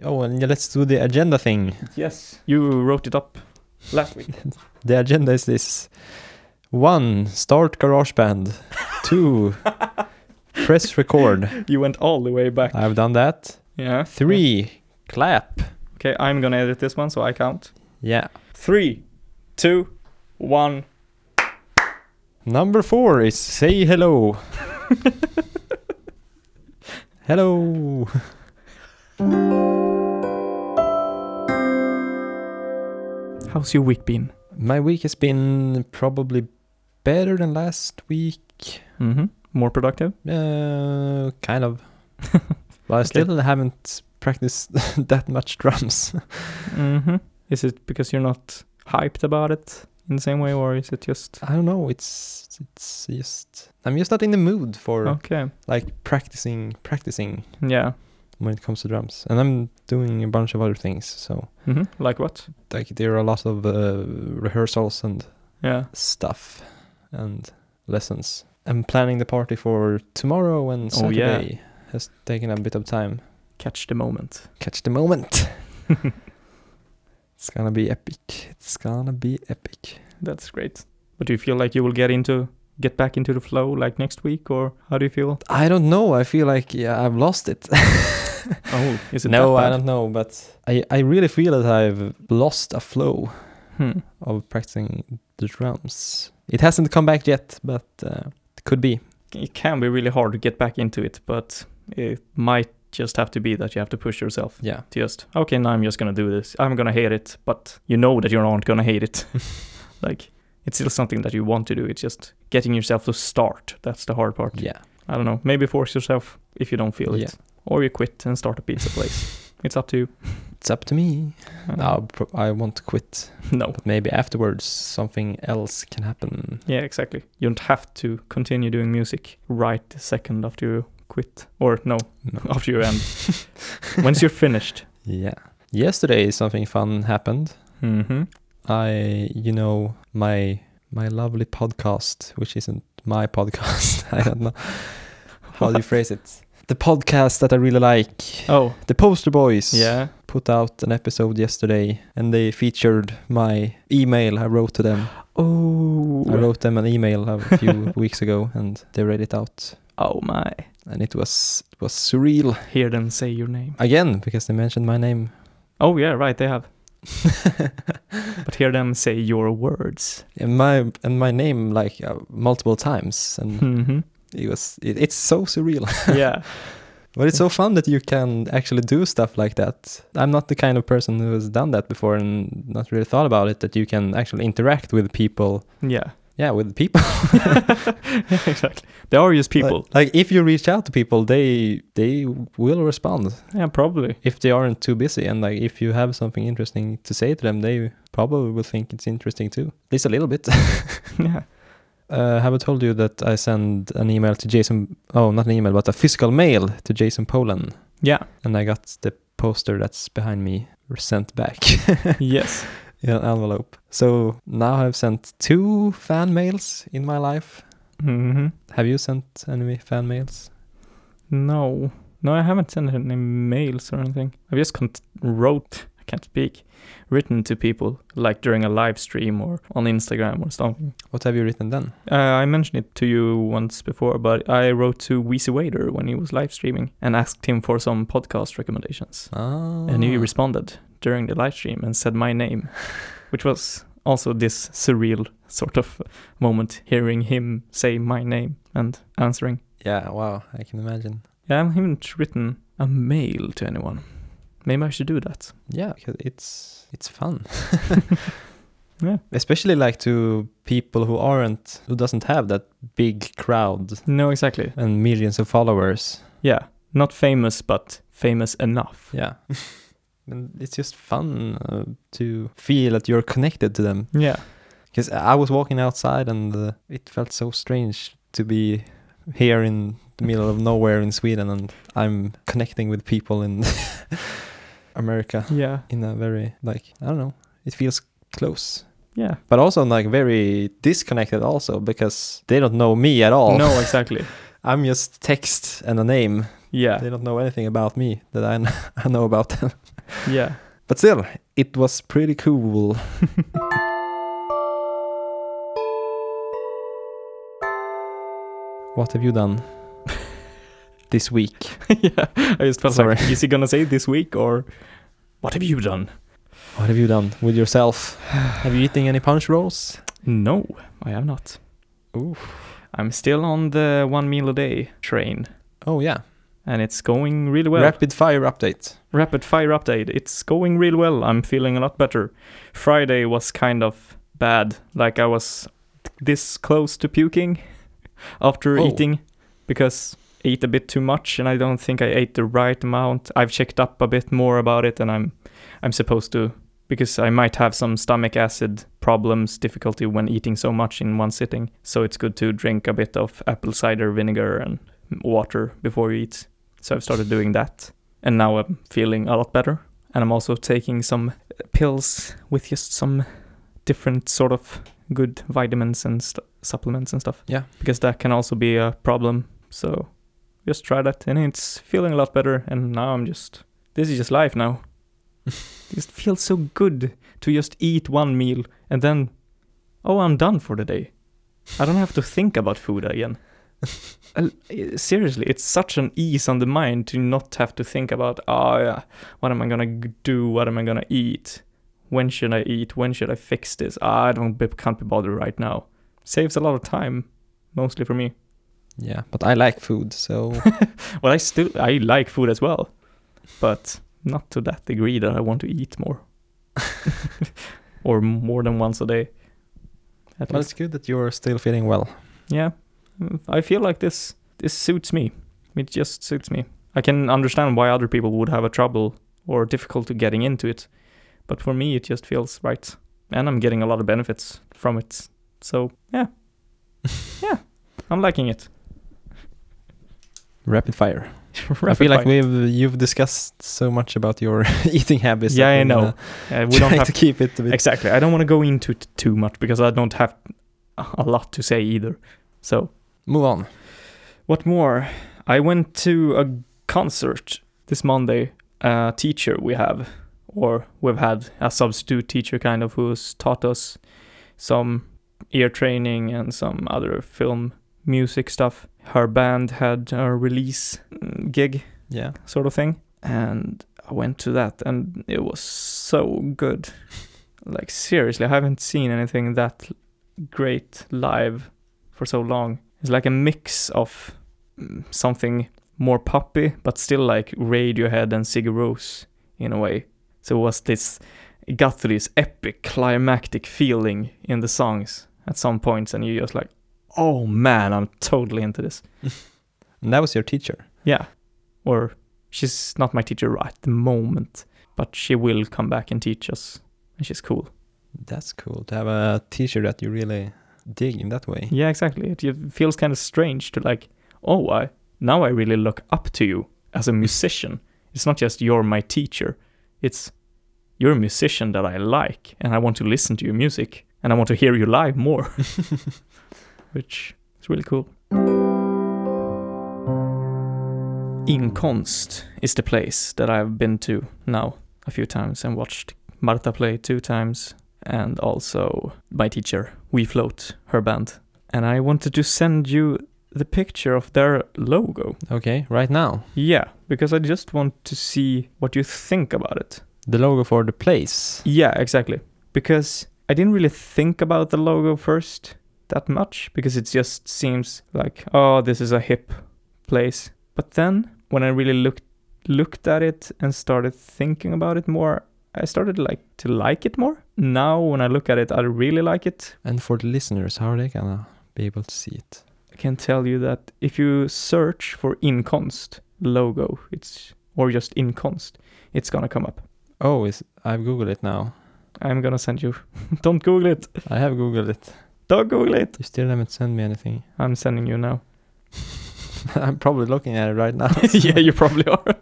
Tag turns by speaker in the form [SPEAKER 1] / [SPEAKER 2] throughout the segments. [SPEAKER 1] Oh, and let's do the agenda thing.
[SPEAKER 2] Yes, you wrote it up last week.
[SPEAKER 1] The agenda is this: one, start GarageBand; two, press record.
[SPEAKER 2] you went all the way back.
[SPEAKER 1] I've done that.
[SPEAKER 2] Yeah.
[SPEAKER 1] Three, clap.
[SPEAKER 2] Okay, I'm gonna edit this one so I count.
[SPEAKER 1] Yeah.
[SPEAKER 2] Three, two, one.
[SPEAKER 1] Number four is say hello. hello.
[SPEAKER 2] How's your week been?
[SPEAKER 1] My week has been probably better than last week.
[SPEAKER 2] Mm-hmm. More productive.
[SPEAKER 1] Uh, kind of. but I still haven't practiced that much drums.
[SPEAKER 2] Mm-hmm. Is it because you're not hyped about it in the same way, or is it just
[SPEAKER 1] I don't know. It's it's just I'm just not in the mood for
[SPEAKER 2] okay?
[SPEAKER 1] like practicing practicing
[SPEAKER 2] Yeah.
[SPEAKER 1] when it comes to drums, and I'm doing a bunch of other things. So
[SPEAKER 2] Mm-hmm. Like what?
[SPEAKER 1] like there are a lot of uh, rehearsals and
[SPEAKER 2] Yeah.
[SPEAKER 1] stuff and lessons. I'm planning the party for tomorrow and
[SPEAKER 2] Oh, yeah.
[SPEAKER 1] Saturday. Has taken a bit of time.
[SPEAKER 2] Catch the moment.
[SPEAKER 1] Catch the moment. it's gonna be epic. It's gonna be epic.
[SPEAKER 2] That's great. But do you feel like you will get into get back into the flow like next week, or how do you feel?
[SPEAKER 1] I don't know. I feel like yeah, I've lost it.
[SPEAKER 2] Oh, is it
[SPEAKER 1] no,
[SPEAKER 2] that
[SPEAKER 1] I
[SPEAKER 2] bad?
[SPEAKER 1] don't know, but I, I really feel that I've lost a flow
[SPEAKER 2] Hmm.
[SPEAKER 1] of practicing the drums. It hasn't come back yet, but uh, it could be.
[SPEAKER 2] it can be really hard to get back into it, but it might just have to be that you have to push yourself
[SPEAKER 1] Yeah.
[SPEAKER 2] to just okay, now I'm just gonna do this. I'm gonna hate it, but you know that you aren't gonna hate it. like it's still something that you want to do. It's just getting yourself to start. That's the hard part.
[SPEAKER 1] Yeah.
[SPEAKER 2] I don't know. Maybe force yourself if you don't feel
[SPEAKER 1] Yeah.
[SPEAKER 2] it, or you quit and start a pizza place. It's up to you.
[SPEAKER 1] It's up to me.
[SPEAKER 2] I don't
[SPEAKER 1] I'll pro- I won't quit,
[SPEAKER 2] know. no.
[SPEAKER 1] but maybe afterwards something else can happen.
[SPEAKER 2] Yeah, exactly. You don't have to continue doing music right the second after you quit, or no,
[SPEAKER 1] No.
[SPEAKER 2] after you end. Once you're finished.
[SPEAKER 1] Yeah. Yesterday something fun happened.
[SPEAKER 2] Mm-hmm.
[SPEAKER 1] I, you know, my my lovely podcast, which isn't my podcast. I don't know how do you phrase it. The podcast that I really like,
[SPEAKER 2] Oh,
[SPEAKER 1] the Poster Boys.
[SPEAKER 2] yeah.
[SPEAKER 1] put out an episode yesterday and they featured my email I wrote to them.
[SPEAKER 2] Oh.
[SPEAKER 1] I wrote them an email a few weeks ago and they read it out
[SPEAKER 2] Oh my.
[SPEAKER 1] and it was it was surreal
[SPEAKER 2] Hear them say your name.
[SPEAKER 1] again because they mentioned my name.
[SPEAKER 2] Oh yeah, right. They have. But hear them say your words.
[SPEAKER 1] and my and my name like uh, multiple times and
[SPEAKER 2] Mm-hmm.
[SPEAKER 1] it was it, it's so surreal.
[SPEAKER 2] yeah.
[SPEAKER 1] but it's so fun that you can actually do stuff like that. I'm not the kind of person who has done that before and not really thought about it that you can actually interact with people.
[SPEAKER 2] Yeah.
[SPEAKER 1] Yeah, with people.
[SPEAKER 2] yeah. Exactly. They are just people.
[SPEAKER 1] Like, like, if you reach out to people, they they will respond
[SPEAKER 2] yeah, probably.
[SPEAKER 1] if they aren't too busy, and like if you have something interesting to say to them, they probably will think it's interesting too, at least a little bit.
[SPEAKER 2] Yeah.
[SPEAKER 1] uh, have I told you that I send an email to Jason? Oh, not an email, but a physical mail to Jason Poland,
[SPEAKER 2] Yeah.
[SPEAKER 1] and I got the poster that's behind me sent back
[SPEAKER 2] yes.
[SPEAKER 1] in an envelope. So now I've sent two fan mails in my life.
[SPEAKER 2] Mm-hmm.
[SPEAKER 1] Have you sent any fan mails?
[SPEAKER 2] No. No, I haven't sent any mails or anything. I just con- wrote. I can't speak. Written to people like during a live stream or on Instagram or something.
[SPEAKER 1] What have you written then?
[SPEAKER 2] Uh, I mentioned it to you once before, but I wrote to Weezy Wader when he was live streaming and asked him for some podcast recommendations.
[SPEAKER 1] Ah.
[SPEAKER 2] And he responded during the live stream and said my name, which was also this surreal sort of moment hearing him say my name and answering.
[SPEAKER 1] Yeah, wow, I can imagine.
[SPEAKER 2] Yeah, I haven't written a mail to anyone. Maybe I should do that.
[SPEAKER 1] Yeah, because it's it's fun.
[SPEAKER 2] Yeah.
[SPEAKER 1] Especially like to people who aren't who doesn't have that big crowd
[SPEAKER 2] No, exactly.
[SPEAKER 1] and millions of followers.
[SPEAKER 2] Yeah, not famous, but famous enough.
[SPEAKER 1] Yeah. and it's just fun uh, to feel that you're connected to them
[SPEAKER 2] Yeah.
[SPEAKER 1] because I was walking outside and uh, it felt so strange to be here in the middle of nowhere in Sweden and I'm connecting with people in America.
[SPEAKER 2] Yeah.
[SPEAKER 1] in a very like I don't know. It feels close,
[SPEAKER 2] Yeah.
[SPEAKER 1] but also like very disconnected
[SPEAKER 2] Oh.
[SPEAKER 1] also because they don't know me at all.
[SPEAKER 2] No, exactly.
[SPEAKER 1] I'm just text and a name,
[SPEAKER 2] Yeah.
[SPEAKER 1] They don't know anything about me that I, kn- I know about them.
[SPEAKER 2] Yeah.
[SPEAKER 1] But still, it was pretty cool. what have you done this week?
[SPEAKER 2] yeah. I just felt
[SPEAKER 1] Sorry.
[SPEAKER 2] like, is he gonna say this week or what have you done?
[SPEAKER 1] What have you done with yourself? have you eaten any punch rolls?
[SPEAKER 2] No, I have not.
[SPEAKER 1] Ooh.
[SPEAKER 2] I'm still on the one meal a day train,
[SPEAKER 1] Oh yeah.
[SPEAKER 2] and it's going really well.
[SPEAKER 1] Rapid fire update.
[SPEAKER 2] Rapid fire update. It's going real well. I'm feeling a lot better. Friday was kind of bad. Like I was this close to puking after
[SPEAKER 1] Oh.
[SPEAKER 2] eating because I ate a bit too much and I don't think I ate the right amount. I've checked up a bit more about it and I'm I'm supposed to because I might have some stomach acid problems, difficulty when eating so much in one sitting. So it's good to drink a bit of apple cider vinegar and water before you eat. So I've started doing that. And now I'm feeling a lot better. And I'm also taking some pills with just some different sort of good vitamins and st- supplements and stuff.
[SPEAKER 1] Yeah.
[SPEAKER 2] Because that can also be a problem. So just try that. And it's feeling a lot better. And now I'm just, this is just life now. it just feels so good to just eat one meal and then, oh, I'm done for the day. I don't have to think about food again. Uh, seriously, it's such an ease on the mind to not have to think about, oh, yeah, what am I gonna g- do? What am I gonna eat? When should I eat? When should I fix this? Ah, I don't be, can't be bothered right now. Saves a lot of time, mostly for me.
[SPEAKER 1] Yeah, but I like food, so
[SPEAKER 2] Well, I still I like food as well, but not to that degree that I want to eat more, or more than once a day. At
[SPEAKER 1] well,
[SPEAKER 2] least,
[SPEAKER 1] it's good that you're still feeling well.
[SPEAKER 2] yeah. Mm, I feel like this this suits me. It just suits me. I can understand why other people would have a trouble or difficulty getting into it, but for me, it just feels right, and I'm getting a lot of benefits from it. So yeah, yeah, I'm liking it.
[SPEAKER 1] Rapid fire. I
[SPEAKER 2] Rapid
[SPEAKER 1] feel like
[SPEAKER 2] fire.
[SPEAKER 1] we've you've discussed so much about your eating habits.
[SPEAKER 2] Yeah,
[SPEAKER 1] that
[SPEAKER 2] I
[SPEAKER 1] we're
[SPEAKER 2] know.
[SPEAKER 1] gonna
[SPEAKER 2] Uh, we don't
[SPEAKER 1] try
[SPEAKER 2] have
[SPEAKER 1] to keep it a bit.
[SPEAKER 2] Exactly. I don't want to go into it too much because I don't have a lot to say either. So,
[SPEAKER 1] Move on.
[SPEAKER 2] what more? I went to a concert this Monday. A teacher we have, or we've had a substitute teacher kind of who's taught us some ear training and some other film music stuff. Her band had a release mm, gig
[SPEAKER 1] Yeah.
[SPEAKER 2] sort of thing. And I went to that and it was so good. like seriously, I haven't seen anything that great live for so long. It's like a mix of mm, something more poppy but still like Radiohead and Sigur Rós in a way. So it was this it got to this epic climactic feeling in the songs at some points and you're just like, "Oh man, I'm totally into this."
[SPEAKER 1] And that was your teacher.
[SPEAKER 2] Yeah. Or she's not my teacher right at the moment, but she will come back and teach us. And she's cool.
[SPEAKER 1] That's cool to have a teacher that you really dig in that way.
[SPEAKER 2] Yeah, exactly. It ju- feels kind of strange to like, oh, I now I really look up to you as a musician. It's not just you're my teacher. It's you're a musician that I like and I want to listen to your music and I want to hear you live more, which is really cool. Inkonst is the place that I've been to now a few times and watched Marta play two times and also my teacher, We Float, her band. And I wanted to send you the picture of their logo.
[SPEAKER 1] Okay, right now
[SPEAKER 2] Yeah, because I just want to see what you think about it.
[SPEAKER 1] the logo for the place.
[SPEAKER 2] Yeah, exactly. Because I didn't really think about the logo first that much because it just seems like oh this is a hip place. But then when I really looked looked at it and started thinking about it more, I started like to like it more. Now when I look at it, I really like it.
[SPEAKER 1] And for the listeners, how are they gonna be able to see it?
[SPEAKER 2] I can tell you that if you search for Inconst logo, it's or just Inconst, it's gonna come up.
[SPEAKER 1] Oh, is I've googled it now.
[SPEAKER 2] I'm gonna send you. Don't Google it.
[SPEAKER 1] I have googled it.
[SPEAKER 2] Don't Google it.
[SPEAKER 1] You still haven't sent me anything.
[SPEAKER 2] I'm sending you now.
[SPEAKER 1] I'm probably looking at it right now.
[SPEAKER 2] yeah, you probably are.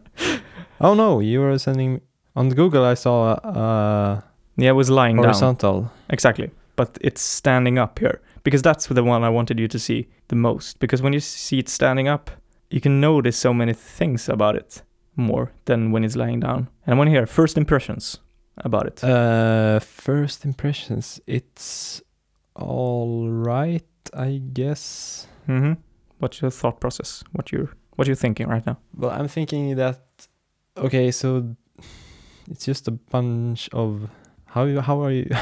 [SPEAKER 1] Oh no, you were sending on Google. I saw a
[SPEAKER 2] Yeah, it was lying down.
[SPEAKER 1] horizontal.
[SPEAKER 2] Exactly. But it's standing up here because that's the one I wanted you to see the most. Because when you see it standing up, you can notice so many things about it more than when it's lying down. And I want to hear first impressions about it.
[SPEAKER 1] Uh, first impressions. It's all right, I guess.
[SPEAKER 2] hmm What's your thought process? What you what you're thinking right now?
[SPEAKER 1] Well, I'm thinking that okay, so it's just a bunch of how you, how are you?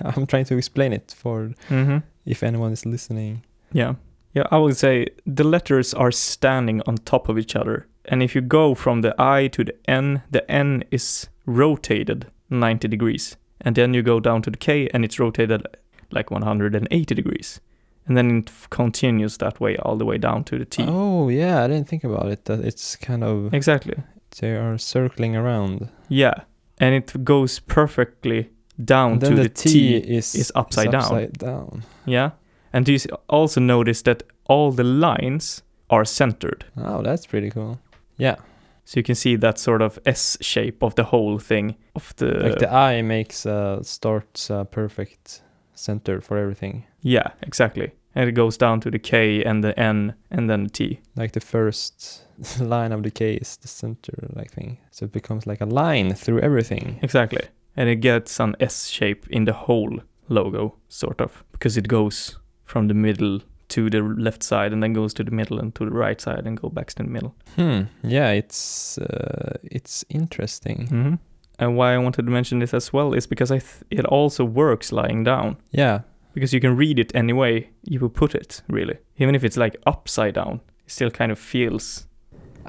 [SPEAKER 1] I'm trying to explain it for
[SPEAKER 2] Mm-hmm.
[SPEAKER 1] if anyone is listening.
[SPEAKER 2] Yeah. Yeah, I would say the letters are standing on top of each other. And if you go from the I to the N, the N is rotated 90 degrees. And then you go down to the K and it's rotated like 180 degrees. And then it f- continues that way all the way down to the T.
[SPEAKER 1] Oh yeah, I didn't think about it. That it's kind of
[SPEAKER 2] Exactly.
[SPEAKER 1] they are circling around.
[SPEAKER 2] Yeah. And it goes perfectly down
[SPEAKER 1] And then
[SPEAKER 2] to
[SPEAKER 1] the,
[SPEAKER 2] the,
[SPEAKER 1] T is
[SPEAKER 2] is upside down.
[SPEAKER 1] upside down.
[SPEAKER 2] Yeah. And do you s- also notice that all the lines are centered?
[SPEAKER 1] Oh, that's pretty cool. Yeah,
[SPEAKER 2] So you can see that sort of S shape of the whole thing of the,
[SPEAKER 1] like the eye makes uh, starts a perfect center for everything.
[SPEAKER 2] yeah exactly, and it goes down to the K and the N and then the T.
[SPEAKER 1] Like the first line of the K is the center, like thing. So it becomes like a line through everything.
[SPEAKER 2] Exactly, and it gets an S shape in the whole logo sort of because it goes from the middle to the left side and then goes to the middle and to the right side and go back to the middle.
[SPEAKER 1] Hmm. Yeah, it's uh, it's interesting.
[SPEAKER 2] Mm-hmm. And why I wanted to mention this as well is because I th- it also works lying down.
[SPEAKER 1] Yeah.
[SPEAKER 2] because you can read it any way you will put it really even if it's like upside down it still kind of feels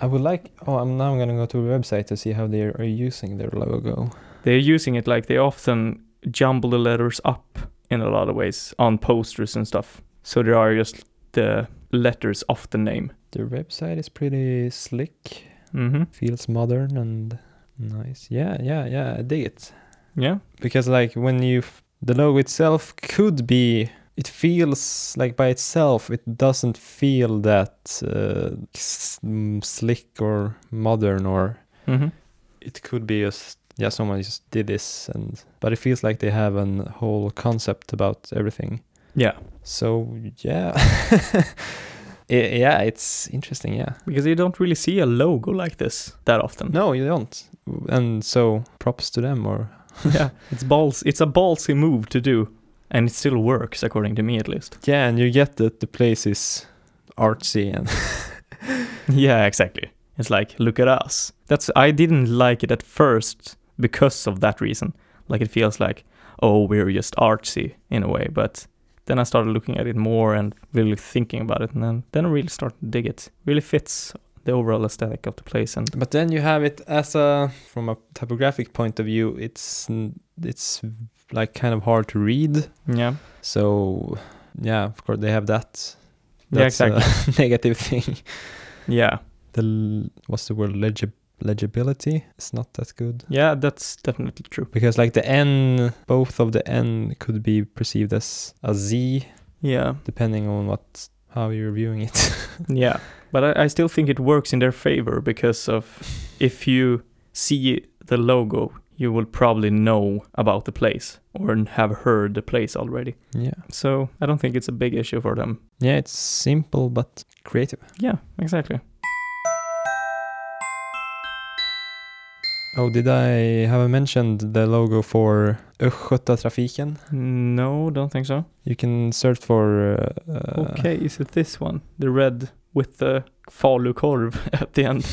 [SPEAKER 1] I would like. Oh, I'm now gonna go to the website to see how they are using their logo.
[SPEAKER 2] they're using it like they often jumble the letters up in a lot of ways on posters and stuff so there are just the letters of the name
[SPEAKER 1] Their website is pretty slick.
[SPEAKER 2] mm-hmm.
[SPEAKER 1] Feels modern and nice. Yeah, yeah, yeah. I dig it.
[SPEAKER 2] yeah
[SPEAKER 1] because like when you f- the logo itself could be it feels like by itself it doesn't feel that uh, s- mm, slick or modern or
[SPEAKER 2] mm-hmm.
[SPEAKER 1] it could be just yeah someone just did this and but it feels like they have a whole concept about everything
[SPEAKER 2] yeah
[SPEAKER 1] so yeah I- yeah it's interesting yeah
[SPEAKER 2] because you don't really see a logo like this that often
[SPEAKER 1] no you don't and so props to them or
[SPEAKER 2] yeah it's balls it's a ballsy move to do and it still works according to me at least
[SPEAKER 1] yeah and you get that the place is artsy and
[SPEAKER 2] Yeah, exactly. It's like, look at us. That's I didn't like it at first because of that reason. Like it feels like, oh, we're just artsy in a way. But then I started looking at it more and really thinking about it, and then then I really started to dig it. Really fits the overall aesthetic of the place, and
[SPEAKER 1] But then you have it as a from a typographic point of view, it's n- it's like kind of hard to read.
[SPEAKER 2] yeah,
[SPEAKER 1] So yeah, of course they have that.
[SPEAKER 2] Yeah,
[SPEAKER 1] That's a negative thing.
[SPEAKER 2] uh, yeah,
[SPEAKER 1] The l- what's the word Legi- legibility? It's not that good
[SPEAKER 2] yeah. That's definitely true.
[SPEAKER 1] because like the N, both of the N could be perceived as a Z
[SPEAKER 2] Yeah,
[SPEAKER 1] depending on what how you're viewing it.
[SPEAKER 2] yeah. But I, I still think it works in their favor because of if you see the logo, you will probably know about the place or have heard the place already.
[SPEAKER 1] yeah,
[SPEAKER 2] So I don't think it's a big issue for them.
[SPEAKER 1] yeah, it's simple but creative.
[SPEAKER 2] Yeah, exactly.
[SPEAKER 1] Oh, did I have I mentioned the logo for Östgötatrafiken?
[SPEAKER 2] No, don't think so.
[SPEAKER 1] You can search for. Uh, uh,
[SPEAKER 2] okay, is it this one? The red with the falukorv at the end?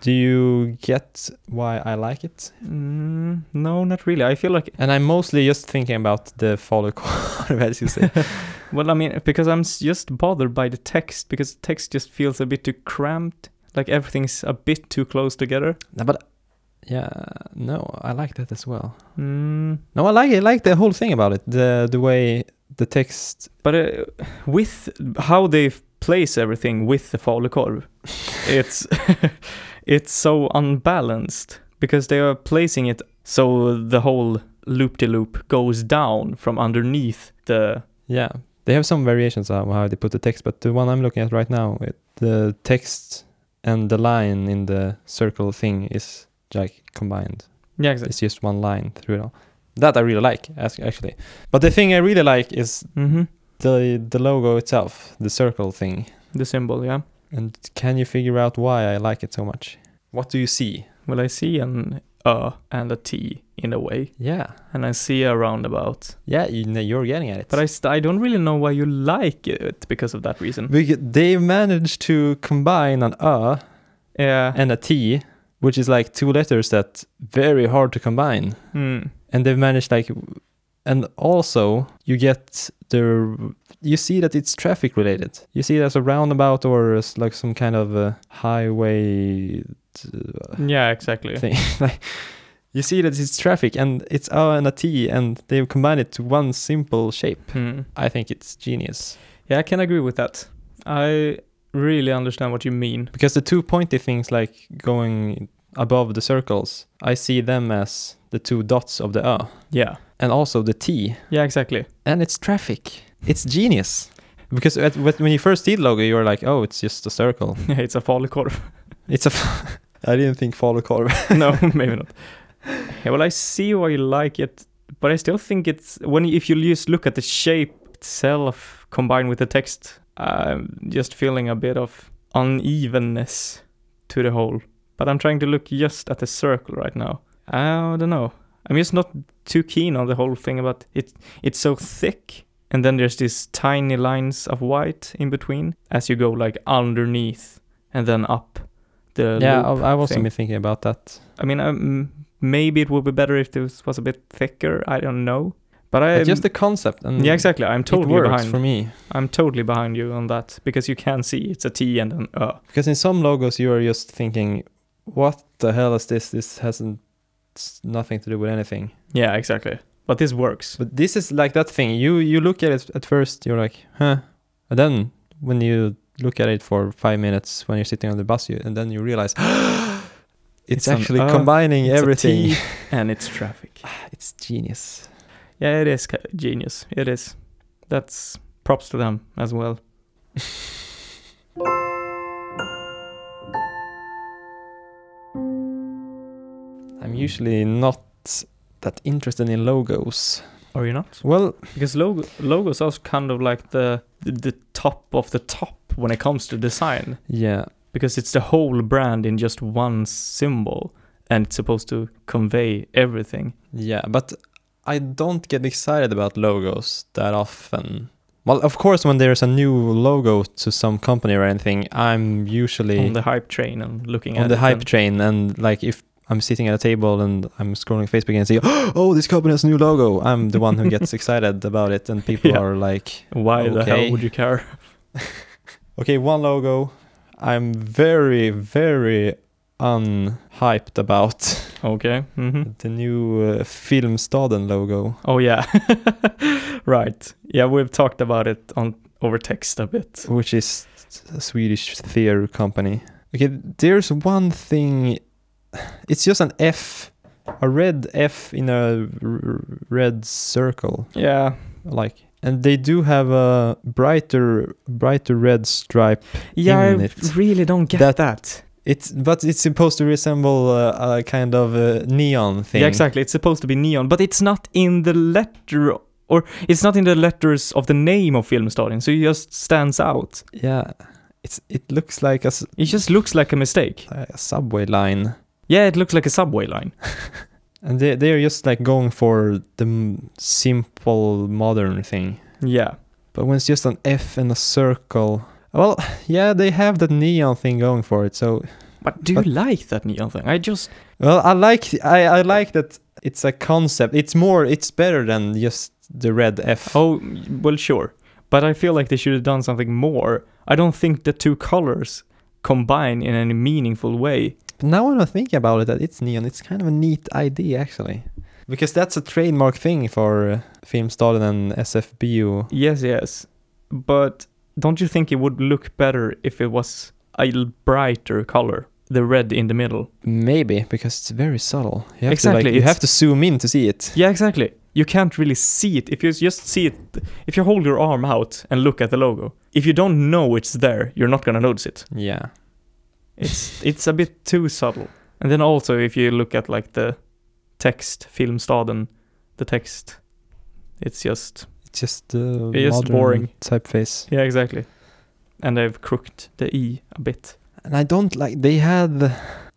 [SPEAKER 1] Do you get why I like it?
[SPEAKER 2] Mm, no, not really. I feel like
[SPEAKER 1] And I'm mostly just thinking about the falukorv, as you say.
[SPEAKER 2] Well, I mean, because I'm s- just bothered by the text because the text just feels a bit too cramped. Like everything's a bit too close together.
[SPEAKER 1] no, but yeah, no, I like that as well.
[SPEAKER 2] Mm,
[SPEAKER 1] No, I like it. I like the whole thing about it. The the way the text.
[SPEAKER 2] But uh, with how they place everything with the falukorv, it's it's so unbalanced because they are placing it so the whole loop-de-loop goes down from underneath the
[SPEAKER 1] Yeah, they have some variations on how they put the text, but the one I'm looking at right now, it, the text and the line in the circle thing is like combined.
[SPEAKER 2] yeah
[SPEAKER 1] It's just one line through it all. That I really like, ac- actually. But the thing I really like is
[SPEAKER 2] mm-hmm.
[SPEAKER 1] the the logo itself, the circle thing.
[SPEAKER 2] the symbol, yeah.
[SPEAKER 1] And can you figure out why I like it so much? What do you see?
[SPEAKER 2] Well, I see an uh and a T in a way,
[SPEAKER 1] Yeah.
[SPEAKER 2] and I see a roundabout.
[SPEAKER 1] Yeah, you, no, you're getting at it.
[SPEAKER 2] But I, st- I don't really know why you like it because of that reason.
[SPEAKER 1] We get- they managed to combine an uh
[SPEAKER 2] Yeah.
[SPEAKER 1] and a T, which is like two letters that very hard to combine.
[SPEAKER 2] Mm.
[SPEAKER 1] and they've managed like and also you get the you see that it's traffic related you see there's a roundabout or as like some kind of a highway uh,
[SPEAKER 2] Yeah, exactly.
[SPEAKER 1] thing like you see that it's traffic and it's r and a t and they've combined it to one simple shape
[SPEAKER 2] Mm.
[SPEAKER 1] i think it's genius
[SPEAKER 2] Yeah, I can agree with that. I really understand what you mean.
[SPEAKER 1] because the two pointy things like going above the circles i see them as the two dots of the r
[SPEAKER 2] Yeah.
[SPEAKER 1] and also the t
[SPEAKER 2] Yeah, exactly.
[SPEAKER 1] and it's traffic. It's genius. Because at, when when you first see the logo, you were like, "Oh, it's just a circle."
[SPEAKER 2] Yeah, it's a falukorv.
[SPEAKER 1] It's a. F- I didn't think follow color.
[SPEAKER 2] no, maybe not. Yeah, well, I see why you like it, but I still think it's when if you just look at the shape itself combined with the text, I'm just feeling a bit of unevenness to the whole. But I'm trying to look just at the circle right now. I don't know. I'm just not too keen on the whole thing about it. It's so thick, and then there's these tiny lines of white in between as you go like underneath and then up the
[SPEAKER 1] yeah,
[SPEAKER 2] loop
[SPEAKER 1] I, I've also
[SPEAKER 2] thing.
[SPEAKER 1] been thinking about that.
[SPEAKER 2] I mean, um, maybe it would be better if this was a bit thicker. I don't know, but I
[SPEAKER 1] But just the concept and
[SPEAKER 2] yeah, exactly. I'm
[SPEAKER 1] it
[SPEAKER 2] totally
[SPEAKER 1] works
[SPEAKER 2] behind.
[SPEAKER 1] for me.
[SPEAKER 2] I'm totally behind you on that because you can see it's a T and an uh.
[SPEAKER 1] Because in some logos, you are just thinking, "What the hell is this? This hasn't it's nothing to do with anything."
[SPEAKER 2] Yeah, exactly. But this works.
[SPEAKER 1] But this is like that thing. You you look at it at first, you're like, "Huh," and then when you look at it for five minutes when you're sitting on the bus, you and then you realize. It's,
[SPEAKER 2] It's an
[SPEAKER 1] actually
[SPEAKER 2] uh,
[SPEAKER 1] combining
[SPEAKER 2] It's a
[SPEAKER 1] everything.
[SPEAKER 2] T and it's traffic.
[SPEAKER 1] It's genius.
[SPEAKER 2] Yeah, it is ki- genius. It is. That's props to them as well.
[SPEAKER 1] I'm usually not that interested in logos.
[SPEAKER 2] Are you not?
[SPEAKER 1] Well,
[SPEAKER 2] Because logo, logos are kind of like the, the the top of the top when it comes to design.
[SPEAKER 1] yeah,
[SPEAKER 2] because it's the whole brand in just one symbol and it's supposed to convey everything.
[SPEAKER 1] yeah, but I don't get excited about logos that often. Well, of course, when there's a new logo to some company or anything, I'm usually
[SPEAKER 2] On the hype train and looking at
[SPEAKER 1] on the
[SPEAKER 2] it
[SPEAKER 1] hype
[SPEAKER 2] and-
[SPEAKER 1] train and like if I'm sitting at a table and I'm scrolling Facebook and see, oh, this company has a new logo. I'm the one who gets excited about it, and people
[SPEAKER 2] Yeah.
[SPEAKER 1] are like,
[SPEAKER 2] Why the hell
[SPEAKER 1] Okay.
[SPEAKER 2] would you care?
[SPEAKER 1] Okay, one logo I'm very, very unhyped about
[SPEAKER 2] Okay. hmm
[SPEAKER 1] the new uh, Filmstaden logo.
[SPEAKER 2] Oh yeah. right. Yeah, we've talked about it on over text a bit.
[SPEAKER 1] which is a Swedish theater company. Okay, there's one thing. It's just an F, a red F in a r- red circle,
[SPEAKER 2] Yeah.
[SPEAKER 1] like. And they do have a brighter, brighter red stripe.
[SPEAKER 2] Yeah, I
[SPEAKER 1] In it.
[SPEAKER 2] really don't get that.
[SPEAKER 1] That It's but it's supposed to resemble uh, a kind of uh neon thing.
[SPEAKER 2] Yeah, exactly. It's supposed to be neon, but it's not in the letter or it's not in the letters of the name of Filmstaden, so it just stands out.
[SPEAKER 1] Yeah, it's it looks like a, s-
[SPEAKER 2] It just looks like a mistake.
[SPEAKER 1] a subway line,
[SPEAKER 2] Yeah, it looks like a subway line.
[SPEAKER 1] and they they're just like going for the m- simple modern thing.
[SPEAKER 2] Yeah.
[SPEAKER 1] But when it's just an F and a circle, well, yeah, they have that neon thing going for it. So,
[SPEAKER 2] But do
[SPEAKER 1] But-
[SPEAKER 2] you like that neon thing? I just
[SPEAKER 1] well, I like I, I like that it's a concept. It's more, it's better than just the red F.
[SPEAKER 2] oh well sure, but I feel like they should have done something more. I don't think the two colors combine in any meaningful way.
[SPEAKER 1] But now when I think about it, that it's neon, it's kind of a neat idea actually, because that's a trademark thing for uh, Filmstaden and SFBU.
[SPEAKER 2] Yes, yes, but don't you think it would look better if it was a l- brighter color, the red in the middle?
[SPEAKER 1] Maybe because it's very subtle. You have To,
[SPEAKER 2] Exactly,
[SPEAKER 1] like, you
[SPEAKER 2] it's-
[SPEAKER 1] have to zoom in to see it.
[SPEAKER 2] Yeah, exactly. You can't really see it if you just see it. If you hold your arm out and look at the logo, if you don't know it's there, you're not gonna notice it.
[SPEAKER 1] Yeah.
[SPEAKER 2] It's it's a bit too subtle. And then also if you look at like the text, Filmstaden, the text, it's just
[SPEAKER 1] It's just the
[SPEAKER 2] It's just
[SPEAKER 1] modern
[SPEAKER 2] boring.
[SPEAKER 1] typeface.
[SPEAKER 2] yeah, exactly. and they've crooked the E a bit.
[SPEAKER 1] And I don't like they had the,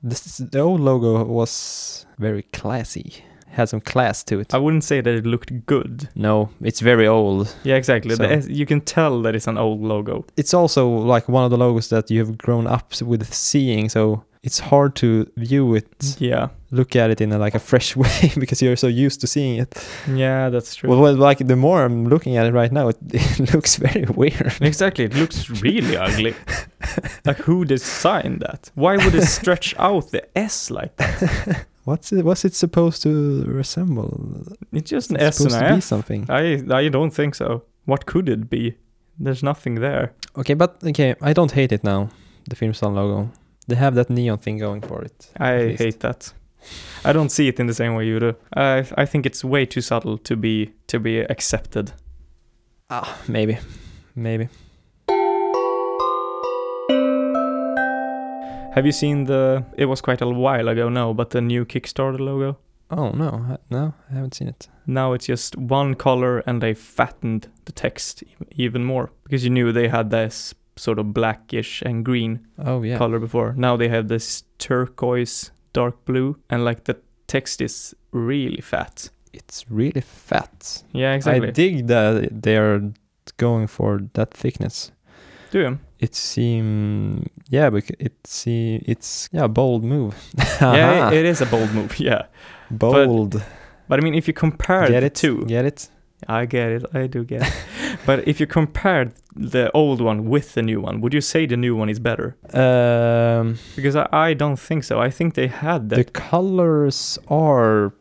[SPEAKER 1] this, the old logo was very classy. Had some class to it.
[SPEAKER 2] I wouldn't say that it looked good.
[SPEAKER 1] no, it's very old.
[SPEAKER 2] Yeah, exactly.
[SPEAKER 1] So-
[SPEAKER 2] The S- you can tell that it's an old logo.
[SPEAKER 1] It's also like one of the logos that you have grown up with seeing, so it's hard to view it,
[SPEAKER 2] Yeah,
[SPEAKER 1] look at it in a, like a fresh way because you're so used to seeing it.
[SPEAKER 2] yeah, that's true.
[SPEAKER 1] Well, well, like the more I'm looking at it right now, it, it looks very weird.
[SPEAKER 2] Exactly, it looks really ugly. Like, who designed that? Why would it stretch out the S like that?
[SPEAKER 1] What's it? What's it supposed to resemble?
[SPEAKER 2] It's just an
[SPEAKER 1] It's
[SPEAKER 2] S and
[SPEAKER 1] supposed
[SPEAKER 2] an
[SPEAKER 1] to be
[SPEAKER 2] F.
[SPEAKER 1] something.
[SPEAKER 2] I, I don't think so. What could it be? There's nothing there.
[SPEAKER 1] Okay, but okay, I don't hate it now. The Filmstar logo. They have that neon thing going for it. at
[SPEAKER 2] I
[SPEAKER 1] least.
[SPEAKER 2] hate that. I don't see it in the same way you do. I I think it's way too subtle to be to be accepted.
[SPEAKER 1] Ah, maybe, maybe.
[SPEAKER 2] Have you seen the? It was quite a while ago now, but the new Kickstarter logo.
[SPEAKER 1] Oh no, I, no, I haven't seen it.
[SPEAKER 2] Now it's just one color, and they fattened the text e- even more because you knew they had this sort of blackish and green
[SPEAKER 1] Oh yeah.
[SPEAKER 2] color before. Now they have this turquoise, dark blue, and like the text is really fat.
[SPEAKER 1] It's really fat.
[SPEAKER 2] Yeah,
[SPEAKER 1] I
[SPEAKER 2] exactly.
[SPEAKER 1] dig that they are going for that thickness.
[SPEAKER 2] Do you?
[SPEAKER 1] It seem yeah, because it seem it's yeah bold move.
[SPEAKER 2] Yeah,
[SPEAKER 1] Aha,
[SPEAKER 2] it- it is a bold move. Yeah.
[SPEAKER 1] bold.
[SPEAKER 2] But I mean, if you compare
[SPEAKER 1] Get
[SPEAKER 2] the
[SPEAKER 1] it?
[SPEAKER 2] two,
[SPEAKER 1] Get it?
[SPEAKER 2] I get it, I do get it. but if you compare the old one with the new one, would you say the new one is better?
[SPEAKER 1] Um,
[SPEAKER 2] Because I, I don't think so. I think they had
[SPEAKER 1] the
[SPEAKER 2] that.
[SPEAKER 1] colors are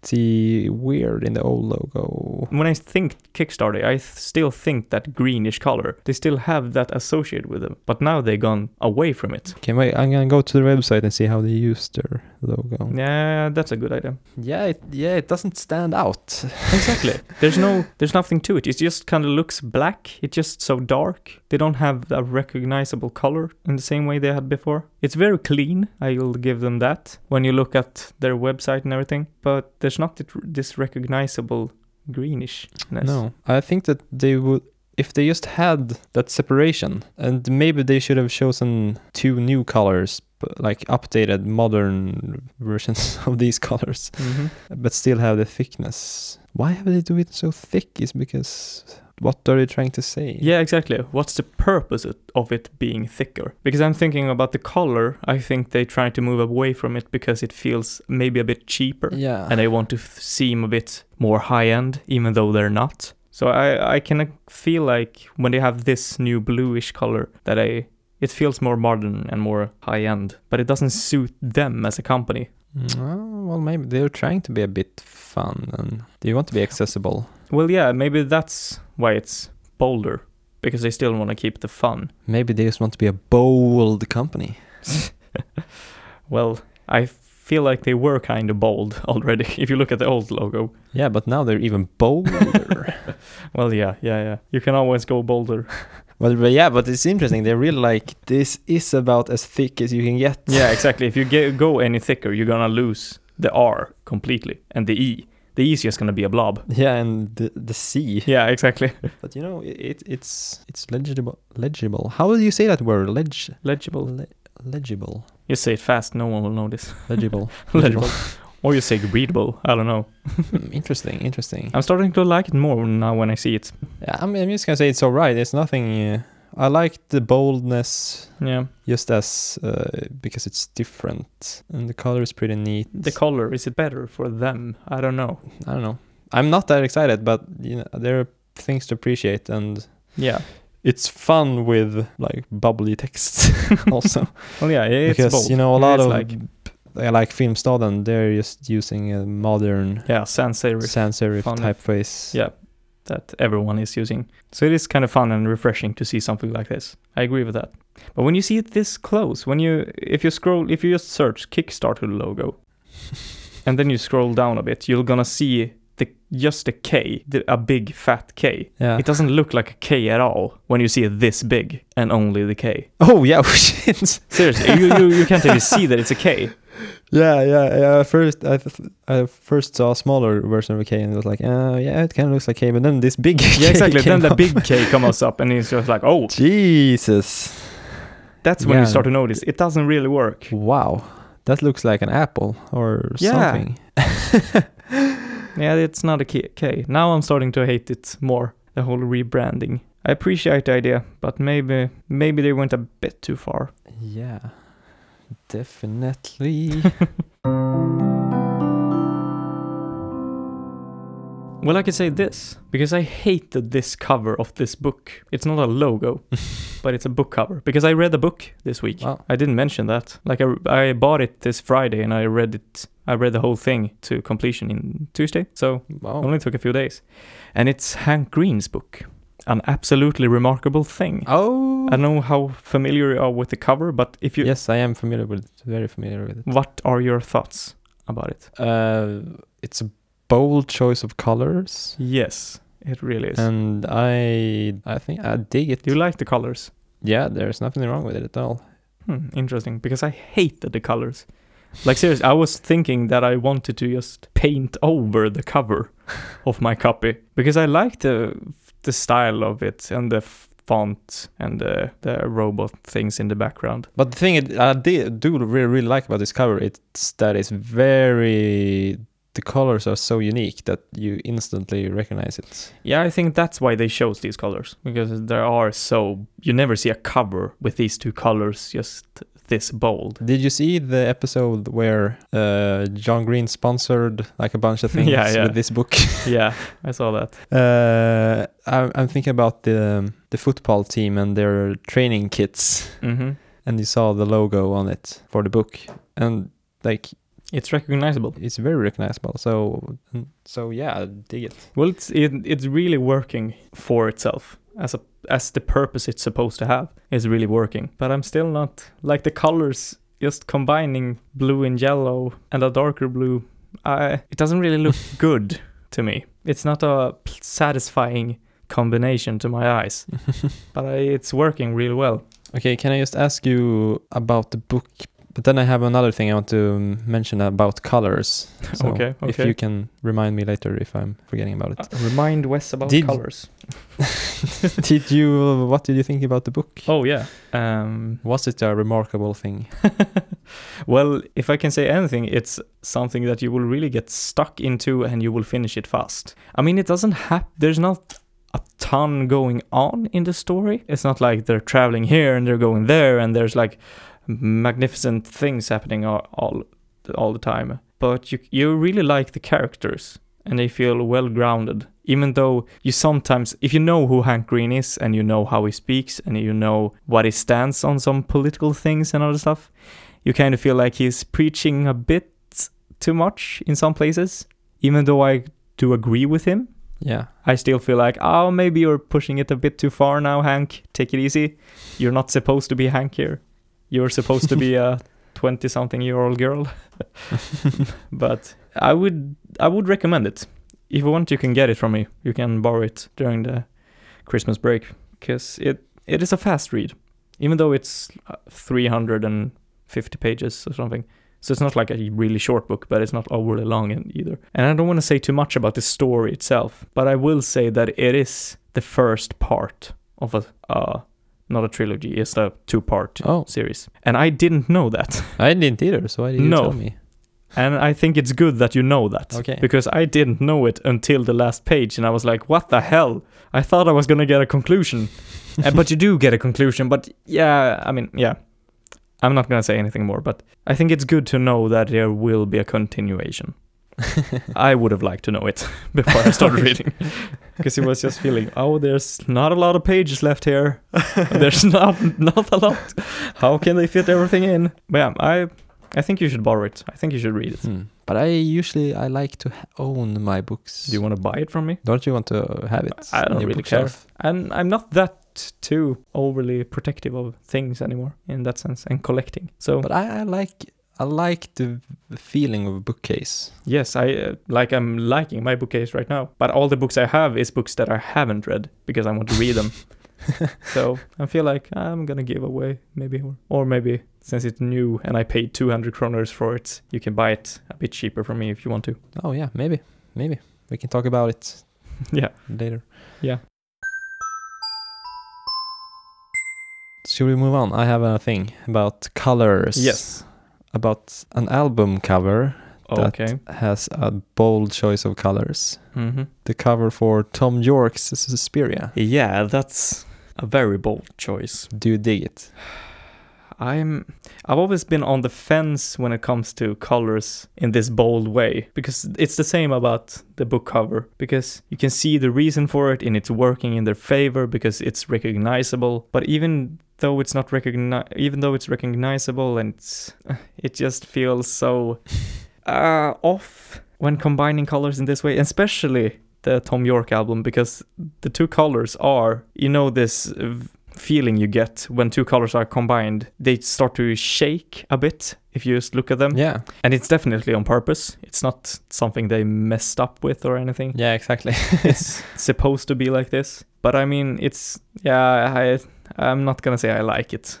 [SPEAKER 1] pretty weird in the old logo.
[SPEAKER 2] when I think Kickstarter, I th- still think that greenish color. They still have that associated with them, but now they've gone away from it.
[SPEAKER 1] Okay, wait, I'm gonna go to the website and see how they use their logo.
[SPEAKER 2] Yeah, that's a good idea.
[SPEAKER 1] Yeah, it, yeah, it doesn't stand out.
[SPEAKER 2] Exactly. there's no, there's nothing to it. It just kind of looks black. It's just so dark. They don't have a recognizable color in the same way they had before. It's very clean. I'll give them that when you look at their website and everything. But there's not th- this recognizable greenishness.
[SPEAKER 1] No, I think that they would if they just had that separation, and maybe they should have chosen two new colors, but like updated modern versions of these colors,
[SPEAKER 2] hmm
[SPEAKER 1] but still have the thickness. Why have they do it so thick? Is because what are they trying to say?
[SPEAKER 2] Yeah, exactly. What's the purpose it- of it being thicker? Because I'm thinking about the color. I think they try to move away from it because it feels maybe a bit cheaper.
[SPEAKER 1] Yeah.
[SPEAKER 2] and they want to f- seem a bit more high end, even though they're not. So I I can uh, feel like when they have this new bluish color that I it feels more modern and more high end, but it doesn't suit them as a company.
[SPEAKER 1] Oh, well, maybe they're trying to be a bit fun and they want to be accessible.
[SPEAKER 2] Well, yeah, maybe that's why it's bolder because they still want to keep the fun.
[SPEAKER 1] Maybe they just want to be a bold company.
[SPEAKER 2] Well, I feel like they were kind of bold already if you look at the old logo.
[SPEAKER 1] Yeah, but now they're even bolder.
[SPEAKER 2] Well, yeah, yeah, yeah. You can always go bolder.
[SPEAKER 1] well, but yeah, but it's interesting. They're really like, this is about as thick as you can get.
[SPEAKER 2] Yeah, exactly. If you ge- go any thicker, you're gonna lose the R completely and the E. The E is just gonna be a blob.
[SPEAKER 1] Yeah, and the, the sea.
[SPEAKER 2] Yeah, exactly.
[SPEAKER 1] But you know, it, it it's it's legible. Legible. How do you say that word? Leg.
[SPEAKER 2] Legible.
[SPEAKER 1] Le, legible.
[SPEAKER 2] You say it fast, no one will notice.
[SPEAKER 1] Legible.
[SPEAKER 2] Legible. or you say readable. I don't know.
[SPEAKER 1] Hmm, interesting. Interesting.
[SPEAKER 2] I'm starting to like it more now when I see it.
[SPEAKER 1] Yeah, I'm, I'm just gonna say it's alright. There's nothing. Uh, I like the boldness
[SPEAKER 2] Yeah.
[SPEAKER 1] just as uh, because it's different and the color is pretty neat.
[SPEAKER 2] The color, is it better for them? I don't know.
[SPEAKER 1] I don't know. I'm not that excited, but you know there are things to appreciate, and
[SPEAKER 2] Yeah.
[SPEAKER 1] it's fun with like bubbly text also
[SPEAKER 2] Well, yeah, it's
[SPEAKER 1] because
[SPEAKER 2] bold.
[SPEAKER 1] you know a lot
[SPEAKER 2] It's
[SPEAKER 1] of
[SPEAKER 2] like,
[SPEAKER 1] I like Filmstaden. They're just using a modern
[SPEAKER 2] yeah, sans serif
[SPEAKER 1] sans serif
[SPEAKER 2] fun.
[SPEAKER 1] typeface.
[SPEAKER 2] Yeah. that everyone is using. So it is kind of fun and refreshing to see something like this. I agree with that. But when you see it this close, when you if you scroll if you just search Kickstarter logo and then you scroll down a bit, you're gonna see the just a K, the, a big fat K.
[SPEAKER 1] yeah.
[SPEAKER 2] It doesn't look like a K at all when you see it this big and only the K.
[SPEAKER 1] oh yeah, shit.
[SPEAKER 2] Seriously, you, you, you can't even see that it's a K.
[SPEAKER 1] Yeah, yeah, yeah. At first, I, th- I first saw a smaller version of a K and was like, uh, yeah, it kind of looks like K, but then this big
[SPEAKER 2] yeah,
[SPEAKER 1] K
[SPEAKER 2] exactly.
[SPEAKER 1] came
[SPEAKER 2] Then the
[SPEAKER 1] up.
[SPEAKER 2] big K comes up, and it's just like, oh,
[SPEAKER 1] Jesus.
[SPEAKER 2] that's when
[SPEAKER 1] Yeah.
[SPEAKER 2] you start to notice it doesn't really work.
[SPEAKER 1] Wow. That looks like an apple or
[SPEAKER 2] Yeah.
[SPEAKER 1] something.
[SPEAKER 2] Yeah, it's not a K. K. Now I'm starting to hate it more. The whole rebranding. I appreciate the idea, but maybe maybe they went a bit too far.
[SPEAKER 1] Yeah. Definitely.
[SPEAKER 2] Well, I could say this because I hated this cover of this book. It's not a logo, but it's a book cover because I read a book this week.
[SPEAKER 1] Wow.
[SPEAKER 2] I didn't mention that. Like I, I bought it this Friday and I read it. I read the whole thing to completion in Tuesday, so
[SPEAKER 1] Wow.
[SPEAKER 2] only took a few days. And it's Hank Green's book, an absolutely remarkable thing.
[SPEAKER 1] Oh.
[SPEAKER 2] I don't know how familiar you are with the cover, but if you,
[SPEAKER 1] yes, I am familiar with it. Very familiar with it.
[SPEAKER 2] what are your thoughts about it?
[SPEAKER 1] Uh, it's a bold choice of colors,
[SPEAKER 2] Yes, it really is.
[SPEAKER 1] and I I think I dig it.
[SPEAKER 2] Do you like the colors?
[SPEAKER 1] yeah, there's nothing wrong with it at all.
[SPEAKER 2] Hmm, interesting, because I hated the colors. Like seriously, I was thinking that I wanted to just paint over the cover of my copy because I liked the the style of it and the font and the the robot things in the background.
[SPEAKER 1] But the thing it- I di- do really really like about this cover it's that it's very the colors are so unique that you instantly recognize it.
[SPEAKER 2] Yeah, I think that's why they chose these colors because there are so you never see a cover with these two colors just this bold.
[SPEAKER 1] Did you see the episode where uh, John Green sponsored like a bunch of things
[SPEAKER 2] Yeah, yeah.
[SPEAKER 1] with this book?
[SPEAKER 2] yeah, I saw that.
[SPEAKER 1] uh, I'm, I'm thinking about the um, the football team and their training kits,
[SPEAKER 2] hmm
[SPEAKER 1] and you saw the logo on it for the book, and like
[SPEAKER 2] It's recognizable.
[SPEAKER 1] it's very recognizable. So so yeah, I dig it.
[SPEAKER 2] Well, it's it, it's really working for itself as a as the purpose it's supposed to have is really working. But I'm still not like the colors just combining blue and yellow and a darker blue. I it doesn't really look good to me. It's not a p- satisfying combination to my eyes, but I, it's working really well.
[SPEAKER 1] Okay, can I just ask you about the book? But then I have another thing I want to um, mention about colors. So
[SPEAKER 2] Okay,
[SPEAKER 1] If
[SPEAKER 2] okay.
[SPEAKER 1] you can remind me later if I'm forgetting about it.
[SPEAKER 2] remind Wes about
[SPEAKER 1] Did-
[SPEAKER 2] colors.
[SPEAKER 1] did you? What did you think about the book?
[SPEAKER 2] Uh, Oh yeah. Um,
[SPEAKER 1] Was it a remarkable thing?
[SPEAKER 2] well, if I can say anything, it's something that you will really get stuck into and you will finish it fast. I mean, it doesn't happen, there's not a ton going on in the story. It's not like they're traveling here and they're going there and there's like magnificent things happening all all, all the time. But you you really like the characters and they feel well grounded. Even though you sometimes, if you know who Hank Green is and you know how he speaks and you know what he stands on, some political things and other stuff, you kind of feel like he's preaching a bit too much in some places. Even though I do agree with him,
[SPEAKER 1] Yeah.
[SPEAKER 2] I still feel like, oh, maybe you're pushing it a bit too far now, Hank. Take it easy. You're not supposed to be Hank here. You're supposed to be a 20 something year old girl. but I would I would recommend it. If you want, you can get it from me. You can borrow it during the Christmas break because it, it is a fast read, even though it's uh, 350 pages or something. So it's not like a really short book, but it's not overly long in- either. And I don't want to say too much about the story itself, but I will say that it is the first part of a uh, not a trilogy, it's a two-part
[SPEAKER 1] Oh,
[SPEAKER 2] series. And I didn't know that.
[SPEAKER 1] I didn't either. So why did you
[SPEAKER 2] No.
[SPEAKER 1] tell me?
[SPEAKER 2] And I think it's good that you know that.
[SPEAKER 1] Okay.
[SPEAKER 2] Because I didn't know it until the last page, and I was like, what the hell? I thought I was going to get a conclusion. Uh, but you do get a conclusion, but yeah, I mean, yeah. I'm not going to say anything more, but I think it's good to know that there will be a continuation. I would have liked to know it before I started reading. Because it was just feeling, oh, there's not a lot of pages left here. There's not not a lot. How can they fit everything in? But yeah, I I think you should borrow it. I think you should read it.
[SPEAKER 1] Hmm. But I usually I like to ha- own my books.
[SPEAKER 2] Do you want to buy it from me?
[SPEAKER 1] Don't you want to have it?
[SPEAKER 2] I
[SPEAKER 1] in
[SPEAKER 2] don't
[SPEAKER 1] your
[SPEAKER 2] really
[SPEAKER 1] bookshelf?
[SPEAKER 2] And I'm not that too overly protective of things anymore in that sense and collecting. So
[SPEAKER 1] But I, I like I like the the feeling of a bookcase.
[SPEAKER 2] yes, I uh, like I'm liking my bookcase right now. But all the books I have is books that I haven't read because I want to read them. so I feel like I'm gonna give away maybe or, or maybe Since it's new and I paid 200 kroners for it, you can buy it a bit cheaper from me if you want to.
[SPEAKER 1] Oh yeah, maybe, maybe we can talk about it
[SPEAKER 2] yeah.
[SPEAKER 1] later.
[SPEAKER 2] Yeah.
[SPEAKER 1] Should we move on? I have a thing about colors.
[SPEAKER 2] Yes.
[SPEAKER 1] About an album cover That-
[SPEAKER 2] Okay.
[SPEAKER 1] has a bold choice of colors.
[SPEAKER 2] Mm-hmm.
[SPEAKER 1] The cover for Tom York's Suspiria.
[SPEAKER 2] Yeah, that's a very bold choice.
[SPEAKER 1] Do you dig it?
[SPEAKER 2] I'm I've always been on the fence when it comes to colors in this bold way because it's the same about the book cover because you can see the reason for it and it's working in their favor because it's recognizable but even though it's not recogni- even though it's recognizable and it's, it just feels so uh, off when combining colors in this way especially the Tom York album because the two colors are you know this uh, feeling you get when two colors are combined. They start to shake a bit if you just look at them.
[SPEAKER 1] Yeah.
[SPEAKER 2] And it's definitely on purpose. It's not something they messed up with or anything.
[SPEAKER 1] Yeah, exactly.
[SPEAKER 2] it's supposed to be like this. But I mean, it's yeah, I I'm not going to say I like it.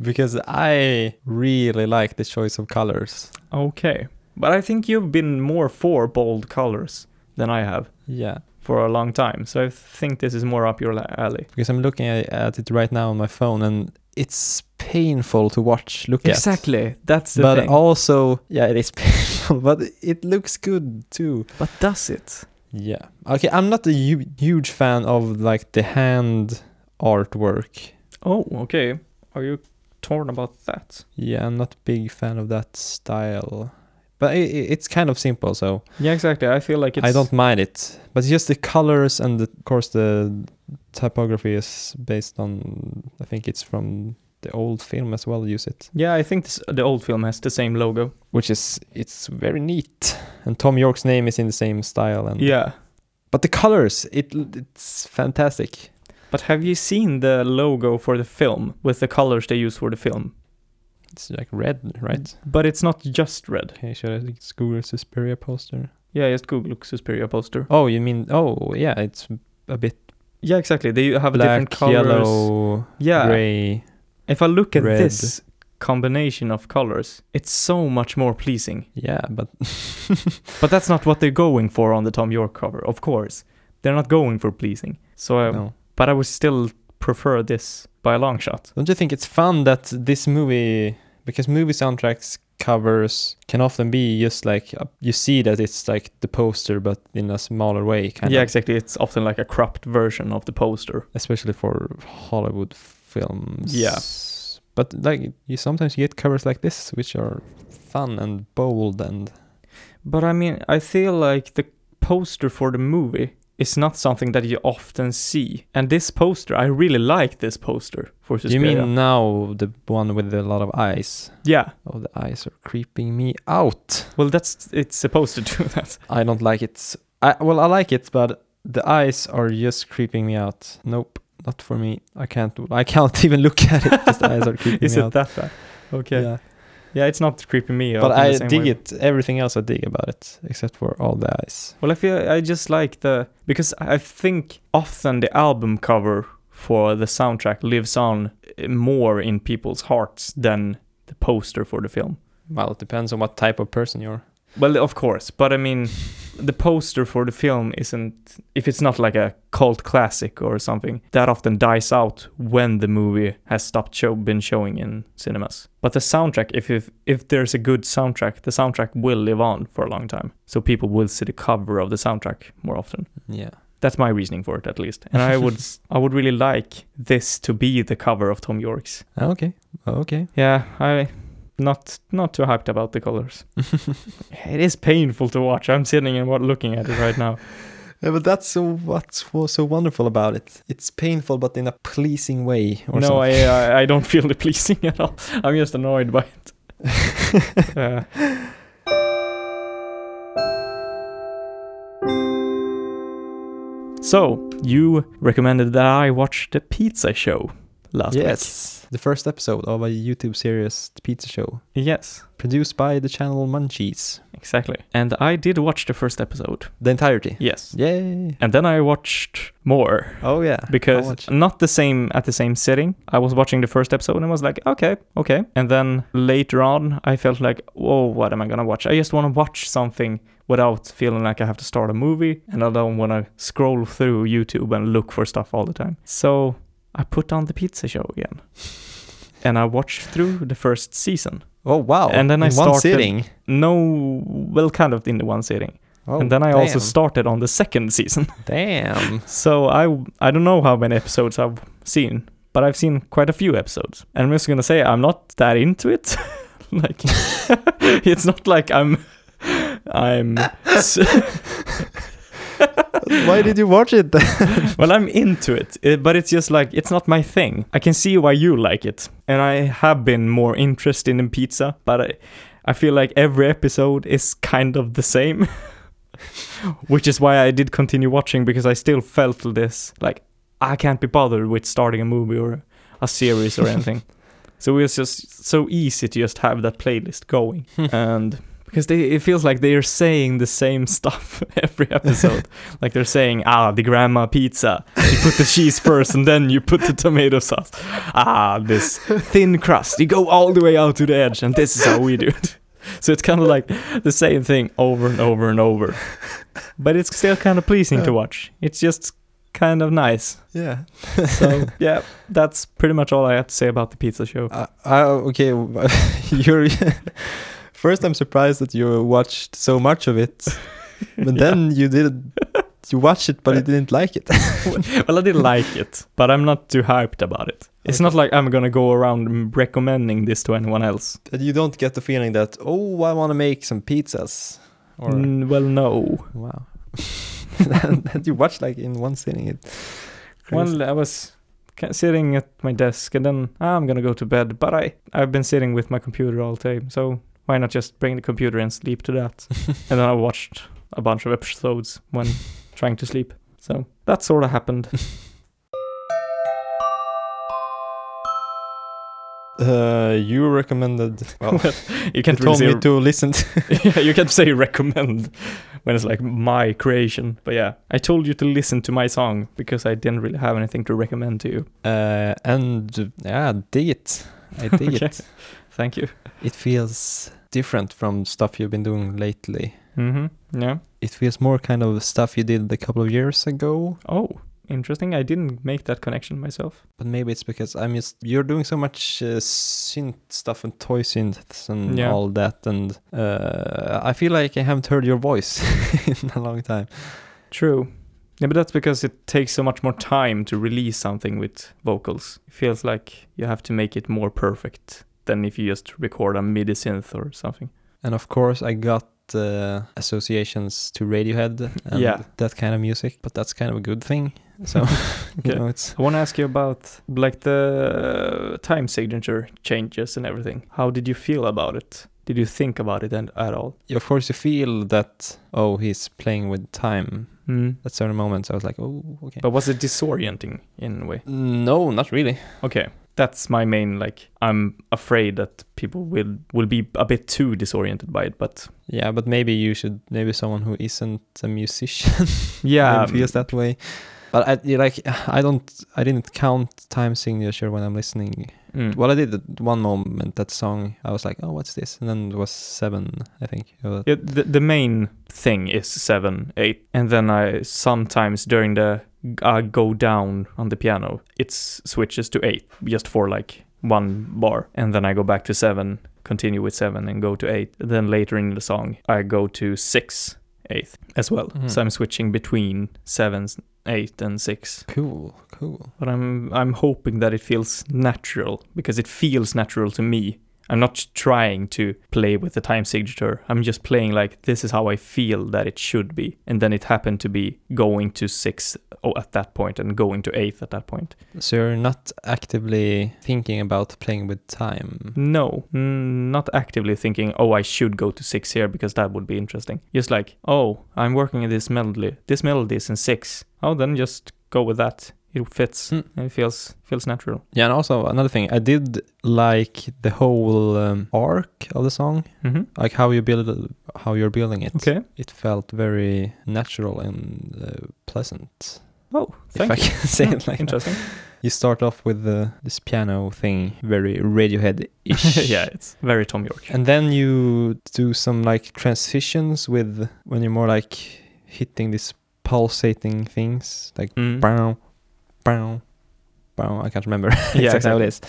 [SPEAKER 1] because I really like the choice of colors.
[SPEAKER 2] Okay. But I think you've been more for bold colors than I have
[SPEAKER 1] Yeah.
[SPEAKER 2] for a long time. So I think this is more up your la- alley.
[SPEAKER 1] Because I'm looking at, at it right now on my phone and it's painful to watch, look at.
[SPEAKER 2] Exactly. That's the
[SPEAKER 1] but
[SPEAKER 2] thing.
[SPEAKER 1] also, yeah, it is painful, but it looks good too.
[SPEAKER 2] but does it?
[SPEAKER 1] Yeah. Okay, I'm not a hu- huge fan of like the hand artwork.
[SPEAKER 2] Oh, okay. Are you torn about that?
[SPEAKER 1] Yeah, I'm not a big fan of that style. But it, it's kind of simple, so
[SPEAKER 2] Yeah, exactly. I feel like it's.
[SPEAKER 1] I don't mind it. But it's just the colors and the, of course the typography is based on I think it's from the old film as well use it,
[SPEAKER 2] Yeah, I think this, the old film has the same logo.
[SPEAKER 1] which is it's very neat. And Tom York's name is in the same style and
[SPEAKER 2] Yeah,
[SPEAKER 1] But the colors, it it's fantastic.
[SPEAKER 2] but have you seen the logo for the film with the colors they use for the film?
[SPEAKER 1] It's like red, right?
[SPEAKER 2] But it's not just red.
[SPEAKER 1] Okay, should I just Google Suspiria poster?
[SPEAKER 2] Yeah, just Google Suspiria poster.
[SPEAKER 1] Oh, you mean oh yeah, it's a bit
[SPEAKER 2] Yeah, exactly. They have different
[SPEAKER 1] black,
[SPEAKER 2] colors.
[SPEAKER 1] yellow,
[SPEAKER 2] yeah.
[SPEAKER 1] gray.
[SPEAKER 2] If I look at
[SPEAKER 1] red.
[SPEAKER 2] this combination of colors, it's so much more pleasing.
[SPEAKER 1] Yeah, but
[SPEAKER 2] But that's not what they're going for on the Tom York cover, of course. They're not going for pleasing. So, uh,
[SPEAKER 1] no.
[SPEAKER 2] but I would still prefer this by a long shot.
[SPEAKER 1] Don't you think it's fun that this movie, because movie soundtracks covers can often be just like uh, you see that it's like the poster but in a smaller way, kind
[SPEAKER 2] yeah,
[SPEAKER 1] of.
[SPEAKER 2] exactly. It's often like a cropped version of the poster.
[SPEAKER 1] Especially for Hollywood films.
[SPEAKER 2] Yeah.
[SPEAKER 1] But like you sometimes get covers like this, which are fun and bold and
[SPEAKER 2] But I mean, I feel like the poster for the movie is not something that you often see. And this poster, I really like this poster for
[SPEAKER 1] you
[SPEAKER 2] Suspiria.
[SPEAKER 1] mean now the one with a lot of eyes?
[SPEAKER 2] Yeah.
[SPEAKER 1] Oh, the eyes are creeping me out.
[SPEAKER 2] Well, that's it's supposed to do that.
[SPEAKER 1] I don't like it. I well, I like it, but the eyes are just creeping me out. Nope, not for me. I can't. I can't even look at it. 'cause the eyes are creeping
[SPEAKER 2] Is
[SPEAKER 1] me
[SPEAKER 2] it
[SPEAKER 1] out.
[SPEAKER 2] that bad? Okay. Yeah.
[SPEAKER 1] Yeah.
[SPEAKER 2] it's not creeping me out.
[SPEAKER 1] But
[SPEAKER 2] in the
[SPEAKER 1] I
[SPEAKER 2] same
[SPEAKER 1] dig
[SPEAKER 2] way.
[SPEAKER 1] it. Everything else I dig about it, except for all the eyes.
[SPEAKER 2] Well, I feel I just like the because I think often the album cover for the soundtrack lives on eh, more in people's hearts than the poster for the film.
[SPEAKER 1] Well, it depends on what type of person you're.
[SPEAKER 2] Well, of course, but I mean, the poster for the film isn't, if it's not like a cult classic or something, that often dies out when the movie has stopped show, been showing in cinemas. But the soundtrack, if, if if there's a good soundtrack, the soundtrack will live on for a long time. So people will see the cover of the soundtrack more often.
[SPEAKER 1] Yeah.
[SPEAKER 2] That's my reasoning for it, at least. And I would s- I would really like this to be the cover of Tom York's.
[SPEAKER 1] Okay. Okay.
[SPEAKER 2] Yeah, I not not too hyped about the colors. it is painful to watch. I'm sitting and wa- looking at it right now.
[SPEAKER 1] Yeah, but that's so what's wo- so wonderful about it. It's painful, but in a pleasing way. Or
[SPEAKER 2] no, I, uh,
[SPEAKER 1] something.
[SPEAKER 2] I I don't feel the pleasing at all. I'm just annoyed by it. Uh, so you recommended that I watch the Pizza Show last
[SPEAKER 1] yes, the first episode of a YouTube series, the Pizza Show,
[SPEAKER 2] week. Yes.
[SPEAKER 1] produced by the channel Munchies.
[SPEAKER 2] exactly. And I did watch the first episode.
[SPEAKER 1] The entirety.
[SPEAKER 2] Yes.
[SPEAKER 1] Yay.
[SPEAKER 2] And then I watched more
[SPEAKER 1] Oh yeah. I
[SPEAKER 2] because
[SPEAKER 1] watched-
[SPEAKER 2] not the same at the same setting. I was watching the first episode and I was like, okay, okay. And then later on, I felt like, oh, what am I gonna watch? I just want to watch something without feeling like I have to start a movie and I don't want to scroll through YouTube and look for stuff all the time. So I put on the pizza show again. And I watched through the first season.
[SPEAKER 1] Oh wow.
[SPEAKER 2] and then I
[SPEAKER 1] In one
[SPEAKER 2] started-
[SPEAKER 1] sitting.
[SPEAKER 2] No, well, kind of in the one sitting.
[SPEAKER 1] Oh,
[SPEAKER 2] and then I also
[SPEAKER 1] damn.
[SPEAKER 2] started on the second season.
[SPEAKER 1] Damn.
[SPEAKER 2] So I I don't know how many episodes I've seen, but I've seen quite a few episodes. And I'm just gonna say I'm not that into it. like it's not like I'm I'm s-
[SPEAKER 1] Why did you watch it? then?
[SPEAKER 2] well I'm into it, it, but it's just like it's not my thing. I can see why you like it, and I have been more interested in pizza, but I I feel like every episode is kind of the same. Which is why I did continue watching because I still felt this like I can't be bothered with starting a movie or a series or anything. so it's just so easy to just have that playlist going, and because they, it feels like they are saying the same stuff every episode. like they're saying, ah, the grandma pizza. You put the cheese first, and then you put the tomato sauce. Ah, this thin crust. You go all the way out to the edge, and this is how we do it. So it's kind of like the same thing over and over and over. But it's still kind of pleasing to watch. It's just kind of nice.
[SPEAKER 1] yeah.
[SPEAKER 2] So yeah, that's pretty much all I have to say about the pizza show.
[SPEAKER 1] Uh, uh, okay, you're first. I'm surprised that you watched so much of it, but then you did. You watched it, but you didn't like it.
[SPEAKER 2] well, I did like it, but I'm not too hyped about it. It's not like I'm gonna go around m- recommending this to anyone else.
[SPEAKER 1] And you don't get the feeling that oh, I want to make some pizzas, or
[SPEAKER 2] Mm, well, no.
[SPEAKER 1] wow. that you watched like in one sitting. It. Crazy.
[SPEAKER 2] Well, I was ki- sitting at my desk, and then "Ah, I'm gonna go to bed. But I I've been sitting with my computer all day, so why not just bring the computer and sleep to that? and then I watched a bunch of episodes when trying to sleep. So that sort of happened.
[SPEAKER 1] uh, you recommended. Well,
[SPEAKER 2] you
[SPEAKER 1] you
[SPEAKER 2] can't really
[SPEAKER 1] told
[SPEAKER 2] say-
[SPEAKER 1] me to listen. To,
[SPEAKER 2] yeah, you can say recommend when it's like my creation. But yeah, I told you to listen to my song because I didn't really have anything to recommend to you.
[SPEAKER 1] uh, and uh, yeah, dig it. I dig
[SPEAKER 2] Okay.
[SPEAKER 1] it.
[SPEAKER 2] Thank you.
[SPEAKER 1] It feels different from stuff you've been doing lately.
[SPEAKER 2] Mm-hmm. Yeah.
[SPEAKER 1] it feels more kind of stuff you did a couple of years ago
[SPEAKER 2] Oh, interesting. I didn't make that connection myself.
[SPEAKER 1] but maybe it's because i'm just you're doing so much uh, synth stuff and toy synths and
[SPEAKER 2] Yeah.
[SPEAKER 1] all that and uh, i feel like i haven't heard your voice in a long time
[SPEAKER 2] True. Yeah, but that's because it takes so much more time to release something with vocals. It feels like you have to make it more perfect than if you just record a MIDI synth or something.
[SPEAKER 1] and of course i got uh, associations to radiohead and
[SPEAKER 2] Yeah.
[SPEAKER 1] that kind of music but that's kind of a good thing so you
[SPEAKER 2] Okay.
[SPEAKER 1] know it's
[SPEAKER 2] I want to ask you about like the time signature changes and everything. How did you feel about it? Did you think about it and, at all?
[SPEAKER 1] of course you feel that oh he's playing with time
[SPEAKER 2] Mm.
[SPEAKER 1] at certain moments i was like oh okay
[SPEAKER 2] But was it disorienting in a way?
[SPEAKER 1] no not really
[SPEAKER 2] Okay, that's my main like. I'm afraid that people will will be a bit too disoriented by it. But
[SPEAKER 1] Yeah, but maybe you should maybe someone who isn't a musician
[SPEAKER 2] yeah,
[SPEAKER 1] maybe feels that way. But I you like I don't I didn't count time signature when I'm listening.
[SPEAKER 2] mm.
[SPEAKER 1] Well, I did at one moment that song. I was like, oh, what's this? And then it was seven, I think. Uh,
[SPEAKER 2] Yeah, the, the main thing is seven, eight, and then I sometimes during the I go down on the piano, it switches to eight just for like one bar, and then I go back to seven, continue with seven, and go to eight. Then later in the song, I go to six, eighth as well.
[SPEAKER 1] Mhm.
[SPEAKER 2] So I'm switching between seven, eight, and six.
[SPEAKER 1] Cool, cool.
[SPEAKER 2] But I'm I'm hoping that it feels natural because it feels natural to me. I'm not trying to play with the time signature. I'm just playing like this is how I feel that it should be, and then it happened to be going to six oh, at that point and going to eighth at that point.
[SPEAKER 1] So you're not actively thinking about playing with time.
[SPEAKER 2] No, mm, not actively thinking. Oh, I should go to six here because that would be interesting. Just like oh, I'm working in this melody. This melody is in six. Oh, then just go with that. It fits.
[SPEAKER 1] Mm.
[SPEAKER 2] and It feels feels natural.
[SPEAKER 1] Yeah, and also another thing, I did like the whole um, arc of the song,
[SPEAKER 2] Mm-hmm.
[SPEAKER 1] like how you build, how you're building it.
[SPEAKER 2] Okay.
[SPEAKER 1] It felt very natural and uh, pleasant.
[SPEAKER 2] Oh,
[SPEAKER 1] if I
[SPEAKER 2] thank you.
[SPEAKER 1] can say it
[SPEAKER 2] Hmm,
[SPEAKER 1] like that.
[SPEAKER 2] Interesting.
[SPEAKER 1] You start off with uh, this piano thing, very Radiohead-ish.
[SPEAKER 2] yeah, it's very Tom York.
[SPEAKER 1] And then you do some like transitions with when you're more like hitting these pulsating things, like
[SPEAKER 2] Mm.
[SPEAKER 1] brown, brown, brown. I can't remember exactly, how it is.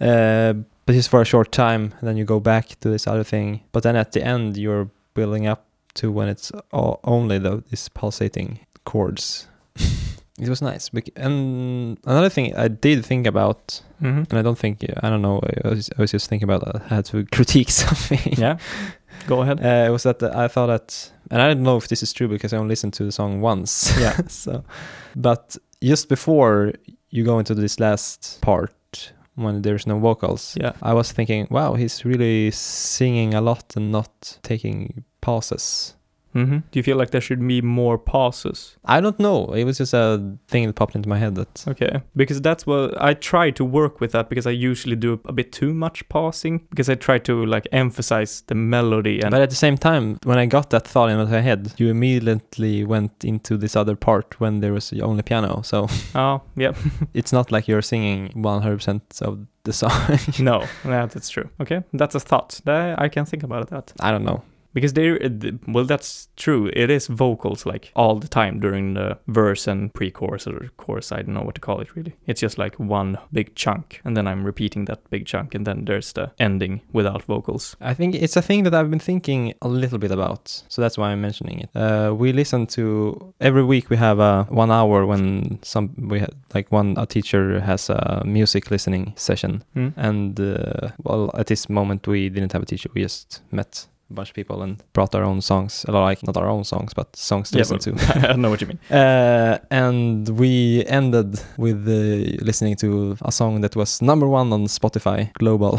[SPEAKER 1] Uh, but just for a short time, and then you go back to this other thing. But then at the end, you're building up to when it's o- only though these pulsating chords. it was nice. Bec- And another thing I did think about
[SPEAKER 2] Mhm.
[SPEAKER 1] and I don't think I don't know. I was, I was just thinking about uh, how to critique something.
[SPEAKER 2] Yeah. Go ahead.
[SPEAKER 1] Uh, it was that I thought that, and I don't know if this is true because I only listened to the song once.
[SPEAKER 2] Yeah.
[SPEAKER 1] so, but just before you go into this last part when there's no vocals,
[SPEAKER 2] Yeah.
[SPEAKER 1] I was thinking, wow, he's really singing a lot and not taking pauses.
[SPEAKER 2] hmm Do you feel like there should be more pauses?
[SPEAKER 1] I don't know. It was just a thing that popped into my head that.
[SPEAKER 2] Okay. Because that's what I try to work with that because I usually do a bit too much pausing because I try to like emphasize the melody and
[SPEAKER 1] But at the same time, when I got that thought in my head, you immediately went into this other part when there was only piano. So
[SPEAKER 2] oh yeah
[SPEAKER 1] it's not like you're singing 100% of the song.
[SPEAKER 2] no yeah, that's true okay that's a thought that I can think about that
[SPEAKER 1] I don't know.
[SPEAKER 2] because they uh, well that's true it is vocals like all the time during the verse and pre-chorus or chorus I don't know what to call it really it's just like one big chunk and then I'm repeating that big chunk and then there's the ending without vocals
[SPEAKER 1] I think it's a thing that I've been thinking a little bit about. So that's why I'm mentioning it. Uh, we listen to every week we have a one hour when some we ha- like one a teacher has a music listening session.
[SPEAKER 2] Hmm.
[SPEAKER 1] And uh, well, at this moment, we didn't have a teacher. We just met a bunch of people and brought our own songs. Well, like not our own songs, but songs to
[SPEAKER 2] Yeah,
[SPEAKER 1] listen to.
[SPEAKER 2] I don't know what you mean
[SPEAKER 1] Uh, and we ended with uh, listening to a song that was number one on Spotify global,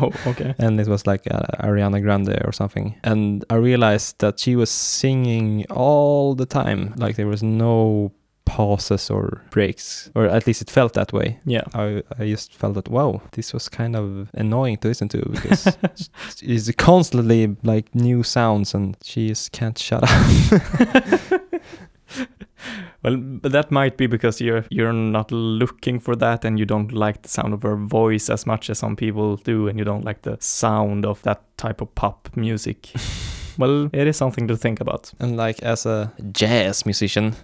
[SPEAKER 2] oh okay
[SPEAKER 1] and it was like uh, Ariana Grande or something. And I realized that she was singing all the time, like there was no pauses or breaks, or at least it felt that way.
[SPEAKER 2] yeah
[SPEAKER 1] I, I just felt that wow, this was kind of annoying to listen to because it's constantly like new sounds and she just can't shut up.
[SPEAKER 2] Well, but that might be because you're you're not looking for that, and you don't like the sound of her voice as much as some people do, and you don't like the sound of that type of pop music. well, it is something to think about.
[SPEAKER 1] And like as a jazz musician,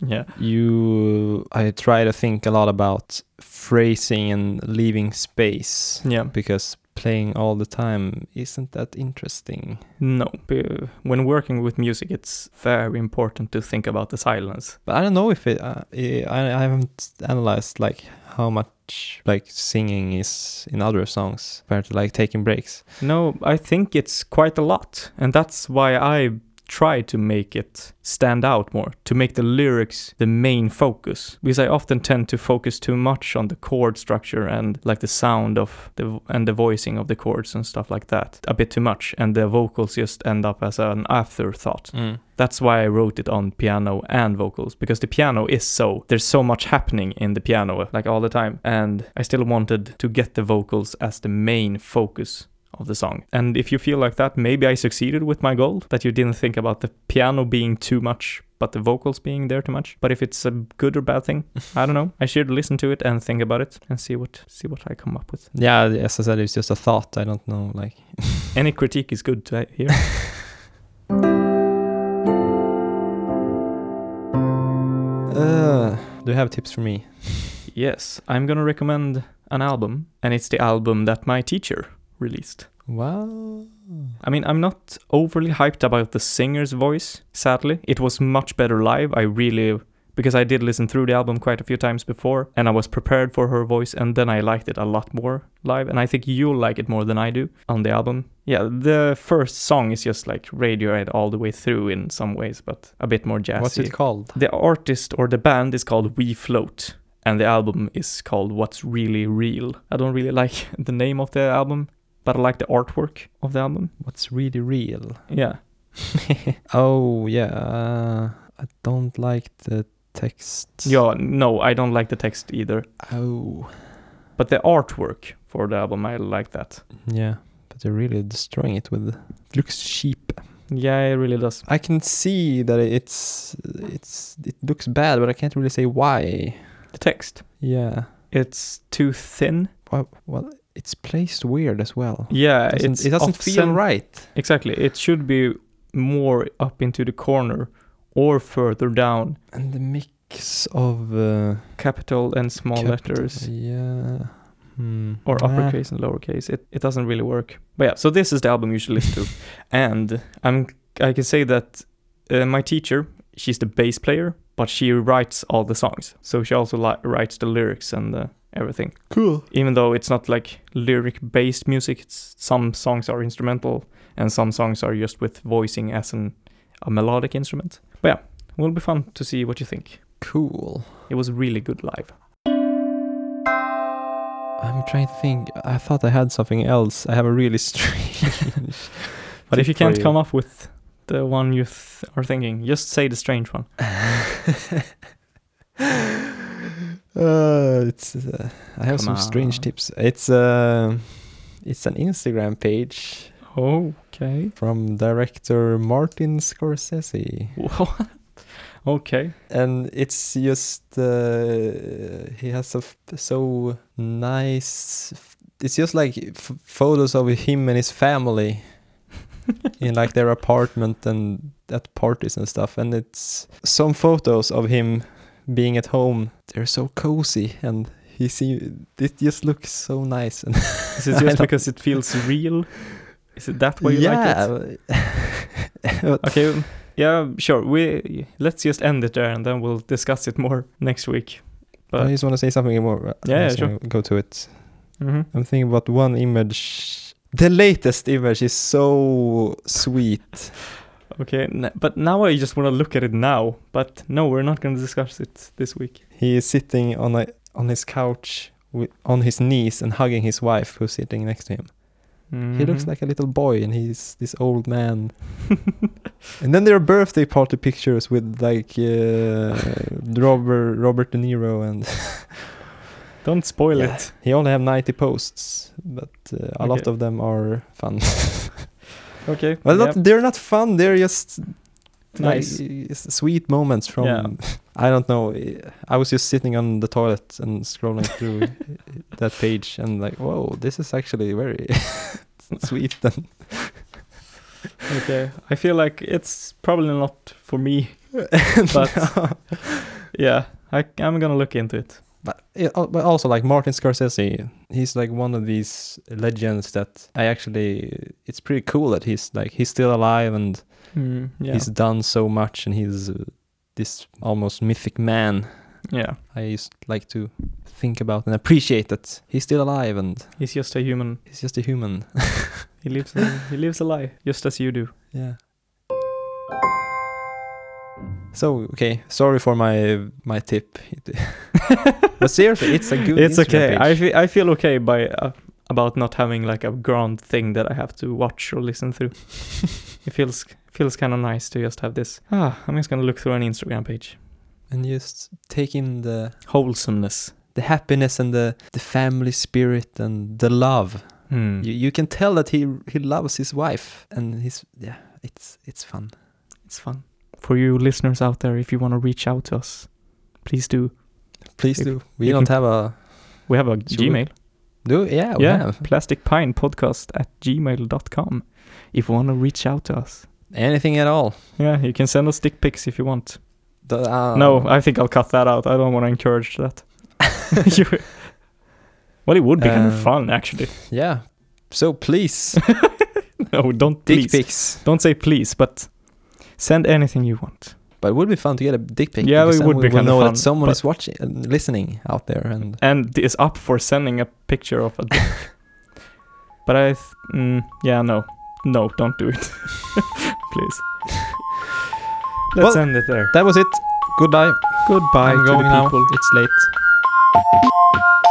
[SPEAKER 2] Yeah,
[SPEAKER 1] you I try to think a lot about phrasing and leaving space
[SPEAKER 2] yeah.
[SPEAKER 1] because playing all the time isn't that interesting.
[SPEAKER 2] No, be- when working with music, it's very important to think about the silence.
[SPEAKER 1] But I don't know if it. Uh, I I haven't analyzed like how much like singing is in other songs compared to like taking breaks.
[SPEAKER 2] No, I think it's quite a lot, and that's why I try to make it stand out more, to make the lyrics the main focus, because I often tend to focus too much on the chord structure and like the sound of the and the voicing of the chords and stuff like that, a bit too much, and the vocals just end up as an afterthought. That's why I wrote it on piano and vocals because the piano is so there's so much happening in the piano like all the time and I still wanted to get the vocals as the main focus of the song. And if you feel like that maybe I succeeded with my goal that you didn't think about the piano being too much but the vocals being there too much. But if it's a good or bad thing, I don't know. I should listen to it and think about it and see what see what I come up with.
[SPEAKER 1] Yeah, as I said, it's just a thought. I don't know. Like
[SPEAKER 2] Any critique is good to hear.
[SPEAKER 1] Uh, do you have tips for me?
[SPEAKER 2] Yes, I'm gonna recommend an album, and it's the album that my teacher released.
[SPEAKER 1] Wow.
[SPEAKER 2] I mean, I'm not overly hyped about the singer's voice, sadly. It was much better live. I really, because I did listen through the album quite a few times before, and I was prepared for her voice, and then I liked it a lot more live. And I think you'll like it more than I do on the album. Yeah, the first song is just like Radiohead all the way through in some ways, but a bit more jazzy.
[SPEAKER 1] What's it called?
[SPEAKER 2] The artist or the band is called We Float, and the album is called What's Really Real. I don't really like the name of the album, but I like the artwork of the album.
[SPEAKER 1] What's really real?
[SPEAKER 2] Yeah.
[SPEAKER 1] oh yeah, uh, I don't like the text.
[SPEAKER 2] Yeah, no, I don't like the text either.
[SPEAKER 1] Oh.
[SPEAKER 2] But the artwork for the album, I like that.
[SPEAKER 1] Yeah, but they're really destroying it with. It looks cheap.
[SPEAKER 2] Yeah, it really does.
[SPEAKER 1] I can see that it's it's it looks bad, but I can't really say why.
[SPEAKER 2] The text.
[SPEAKER 1] Yeah.
[SPEAKER 2] It's too thin.
[SPEAKER 1] Well, well it's placed weird as well.
[SPEAKER 2] Yeah,
[SPEAKER 1] It doesn't,
[SPEAKER 2] it's
[SPEAKER 1] it doesn't feel
[SPEAKER 2] off-cent-
[SPEAKER 1] right.
[SPEAKER 2] Exactly. It should be more up into the corner or further down.
[SPEAKER 1] And the mix of uh,
[SPEAKER 2] Capital and small
[SPEAKER 1] capital-
[SPEAKER 2] letters
[SPEAKER 1] Yeah. Hmm.
[SPEAKER 2] or
[SPEAKER 1] Yeah.
[SPEAKER 2] uppercase and lowercase. It it doesn't really work. But yeah, so this is the album you should listen to. And I'm I can say that uh, my teacher, she's the bass player, but she writes all the songs. So she also li- writes the lyrics and uh, everything.
[SPEAKER 1] Cool.
[SPEAKER 2] even though it's not like lyric based music it's, some songs are instrumental and some songs are just with voicing as an, a melodic instrument but yeah will be fun to see what you think
[SPEAKER 1] Cool.
[SPEAKER 2] it was really good live
[SPEAKER 1] I'm trying to think. I thought I had something else. I have a really strange.
[SPEAKER 2] but if you can't come
[SPEAKER 1] up.
[SPEAKER 2] up with the one you th- are thinking just say the strange one
[SPEAKER 1] uh, it's uh, I have
[SPEAKER 2] Come
[SPEAKER 1] some strange
[SPEAKER 2] on.
[SPEAKER 1] tips. It's uh, it's an Instagram page
[SPEAKER 2] okay
[SPEAKER 1] from director Martin Scorsese,
[SPEAKER 2] what okay
[SPEAKER 1] and it's just uh, he has a f- so nice. F- it's just like f- photos of him and his family in like their apartment and at parties and stuff and it's some photos of him being at home they're so cozy and he see it just looks so nice and
[SPEAKER 2] is it
[SPEAKER 1] I
[SPEAKER 2] just
[SPEAKER 1] don't-
[SPEAKER 2] because it feels real is it that way you like it
[SPEAKER 1] but-
[SPEAKER 2] okay um, yeah sure we let's just end it there and then we'll discuss it more next week
[SPEAKER 1] I
[SPEAKER 2] but
[SPEAKER 1] just want to say something more uh,
[SPEAKER 2] Yeah, yeah,
[SPEAKER 1] as
[SPEAKER 2] sure.
[SPEAKER 1] we go to it
[SPEAKER 2] Mhm.
[SPEAKER 1] I'm thinking about one image the latest image is so sweet
[SPEAKER 2] Okay, n- but now I just want to look at it now. But no, we're not going to discuss it this week.
[SPEAKER 1] he is sitting on a on his couch with, on his knees and hugging his wife who's sitting next to him He looks
[SPEAKER 2] Mhm.
[SPEAKER 1] like a little boy and he's this old man. and then there are birthday party pictures with like uh, Robert Robert De Niro and
[SPEAKER 2] Don't spoil
[SPEAKER 1] Yeah.
[SPEAKER 2] it.
[SPEAKER 1] he only have 90 posts, but uh, a lot
[SPEAKER 2] Okay.
[SPEAKER 1] of them are fun.
[SPEAKER 2] Okay.
[SPEAKER 1] well,
[SPEAKER 2] yeah.
[SPEAKER 1] not, they're not fun, they're just like,
[SPEAKER 2] Nice.
[SPEAKER 1] uh, sweet moments from
[SPEAKER 2] Yeah.
[SPEAKER 1] I don't know. I was just sitting on the toilet and scrolling through that page and like, "Whoa, this is actually very sweet." And
[SPEAKER 2] Okay. I feel like it's probably not for me. But- Yeah, I, I'm gonna look into it.
[SPEAKER 1] But yeah, al- but also like Martin Scorsese, he's like one of these legends that I actually it's pretty cool that he's like he's still alive and Hmm,
[SPEAKER 2] yeah.
[SPEAKER 1] he's done so much and he's uh, this almost mythic man.
[SPEAKER 2] yeah.
[SPEAKER 1] I just like to think about and appreciate that he's still alive and
[SPEAKER 2] He's just a human.
[SPEAKER 1] he's just a human.
[SPEAKER 2] He lives. A, he lives a lie, just as you do.
[SPEAKER 1] yeah. So okay, sorry for my my tip, but seriously, it's a good.
[SPEAKER 2] it's
[SPEAKER 1] Instagram
[SPEAKER 2] okay. I
[SPEAKER 1] page.
[SPEAKER 2] feel. I feel okay by uh, about not having like a grand thing that I have to watch or listen through. it feels feels kind of nice to just have this. Ah, I'm just gonna look through an Instagram page.
[SPEAKER 1] and just take in the
[SPEAKER 2] Wholesomeness.
[SPEAKER 1] the happiness and the, the family spirit and the love.
[SPEAKER 2] Hmm.
[SPEAKER 1] You, you can tell that he he loves his wife and his yeah. It's it's fun.
[SPEAKER 2] It's fun. For you listeners out there, if you want to reach out to us, please do.
[SPEAKER 1] Please
[SPEAKER 2] If-
[SPEAKER 1] do. We
[SPEAKER 2] if
[SPEAKER 1] don't
[SPEAKER 2] you-
[SPEAKER 1] have a
[SPEAKER 2] We have a
[SPEAKER 1] we-
[SPEAKER 2] Gmail.
[SPEAKER 1] do. Yeah, we
[SPEAKER 2] yeah,
[SPEAKER 1] have
[SPEAKER 2] plasticpinepodcast at gmail.com. If you want to reach out to us.
[SPEAKER 1] anything at all.
[SPEAKER 2] Yeah, you can send us dick pics if you want.
[SPEAKER 1] The, uh,
[SPEAKER 2] No, I think I'll cut that out. I don't want to encourage that. You- well, it would be kind of
[SPEAKER 1] Um,
[SPEAKER 2] fun, actually.
[SPEAKER 1] yeah. So please,
[SPEAKER 2] No, don't
[SPEAKER 1] dick
[SPEAKER 2] please.
[SPEAKER 1] pics.
[SPEAKER 2] Don't say please, but send anything you want.
[SPEAKER 1] But it would be fun to get a dick pic.
[SPEAKER 2] Yeah,
[SPEAKER 1] because
[SPEAKER 2] it
[SPEAKER 1] then
[SPEAKER 2] would
[SPEAKER 1] we
[SPEAKER 2] be
[SPEAKER 1] will
[SPEAKER 2] kinda
[SPEAKER 1] know
[SPEAKER 2] fun,
[SPEAKER 1] that someone
[SPEAKER 2] but-
[SPEAKER 1] is watching, and listening out there, and
[SPEAKER 2] and is up for sending a picture of a dick. but I, th- mm, yeah, no, no, don't do it, please. Let's
[SPEAKER 1] Well,
[SPEAKER 2] end it there.
[SPEAKER 1] that was it. Goodbye.
[SPEAKER 2] Goodbye
[SPEAKER 1] I'm
[SPEAKER 2] to
[SPEAKER 1] going
[SPEAKER 2] the
[SPEAKER 1] now.
[SPEAKER 2] people.
[SPEAKER 1] It's late.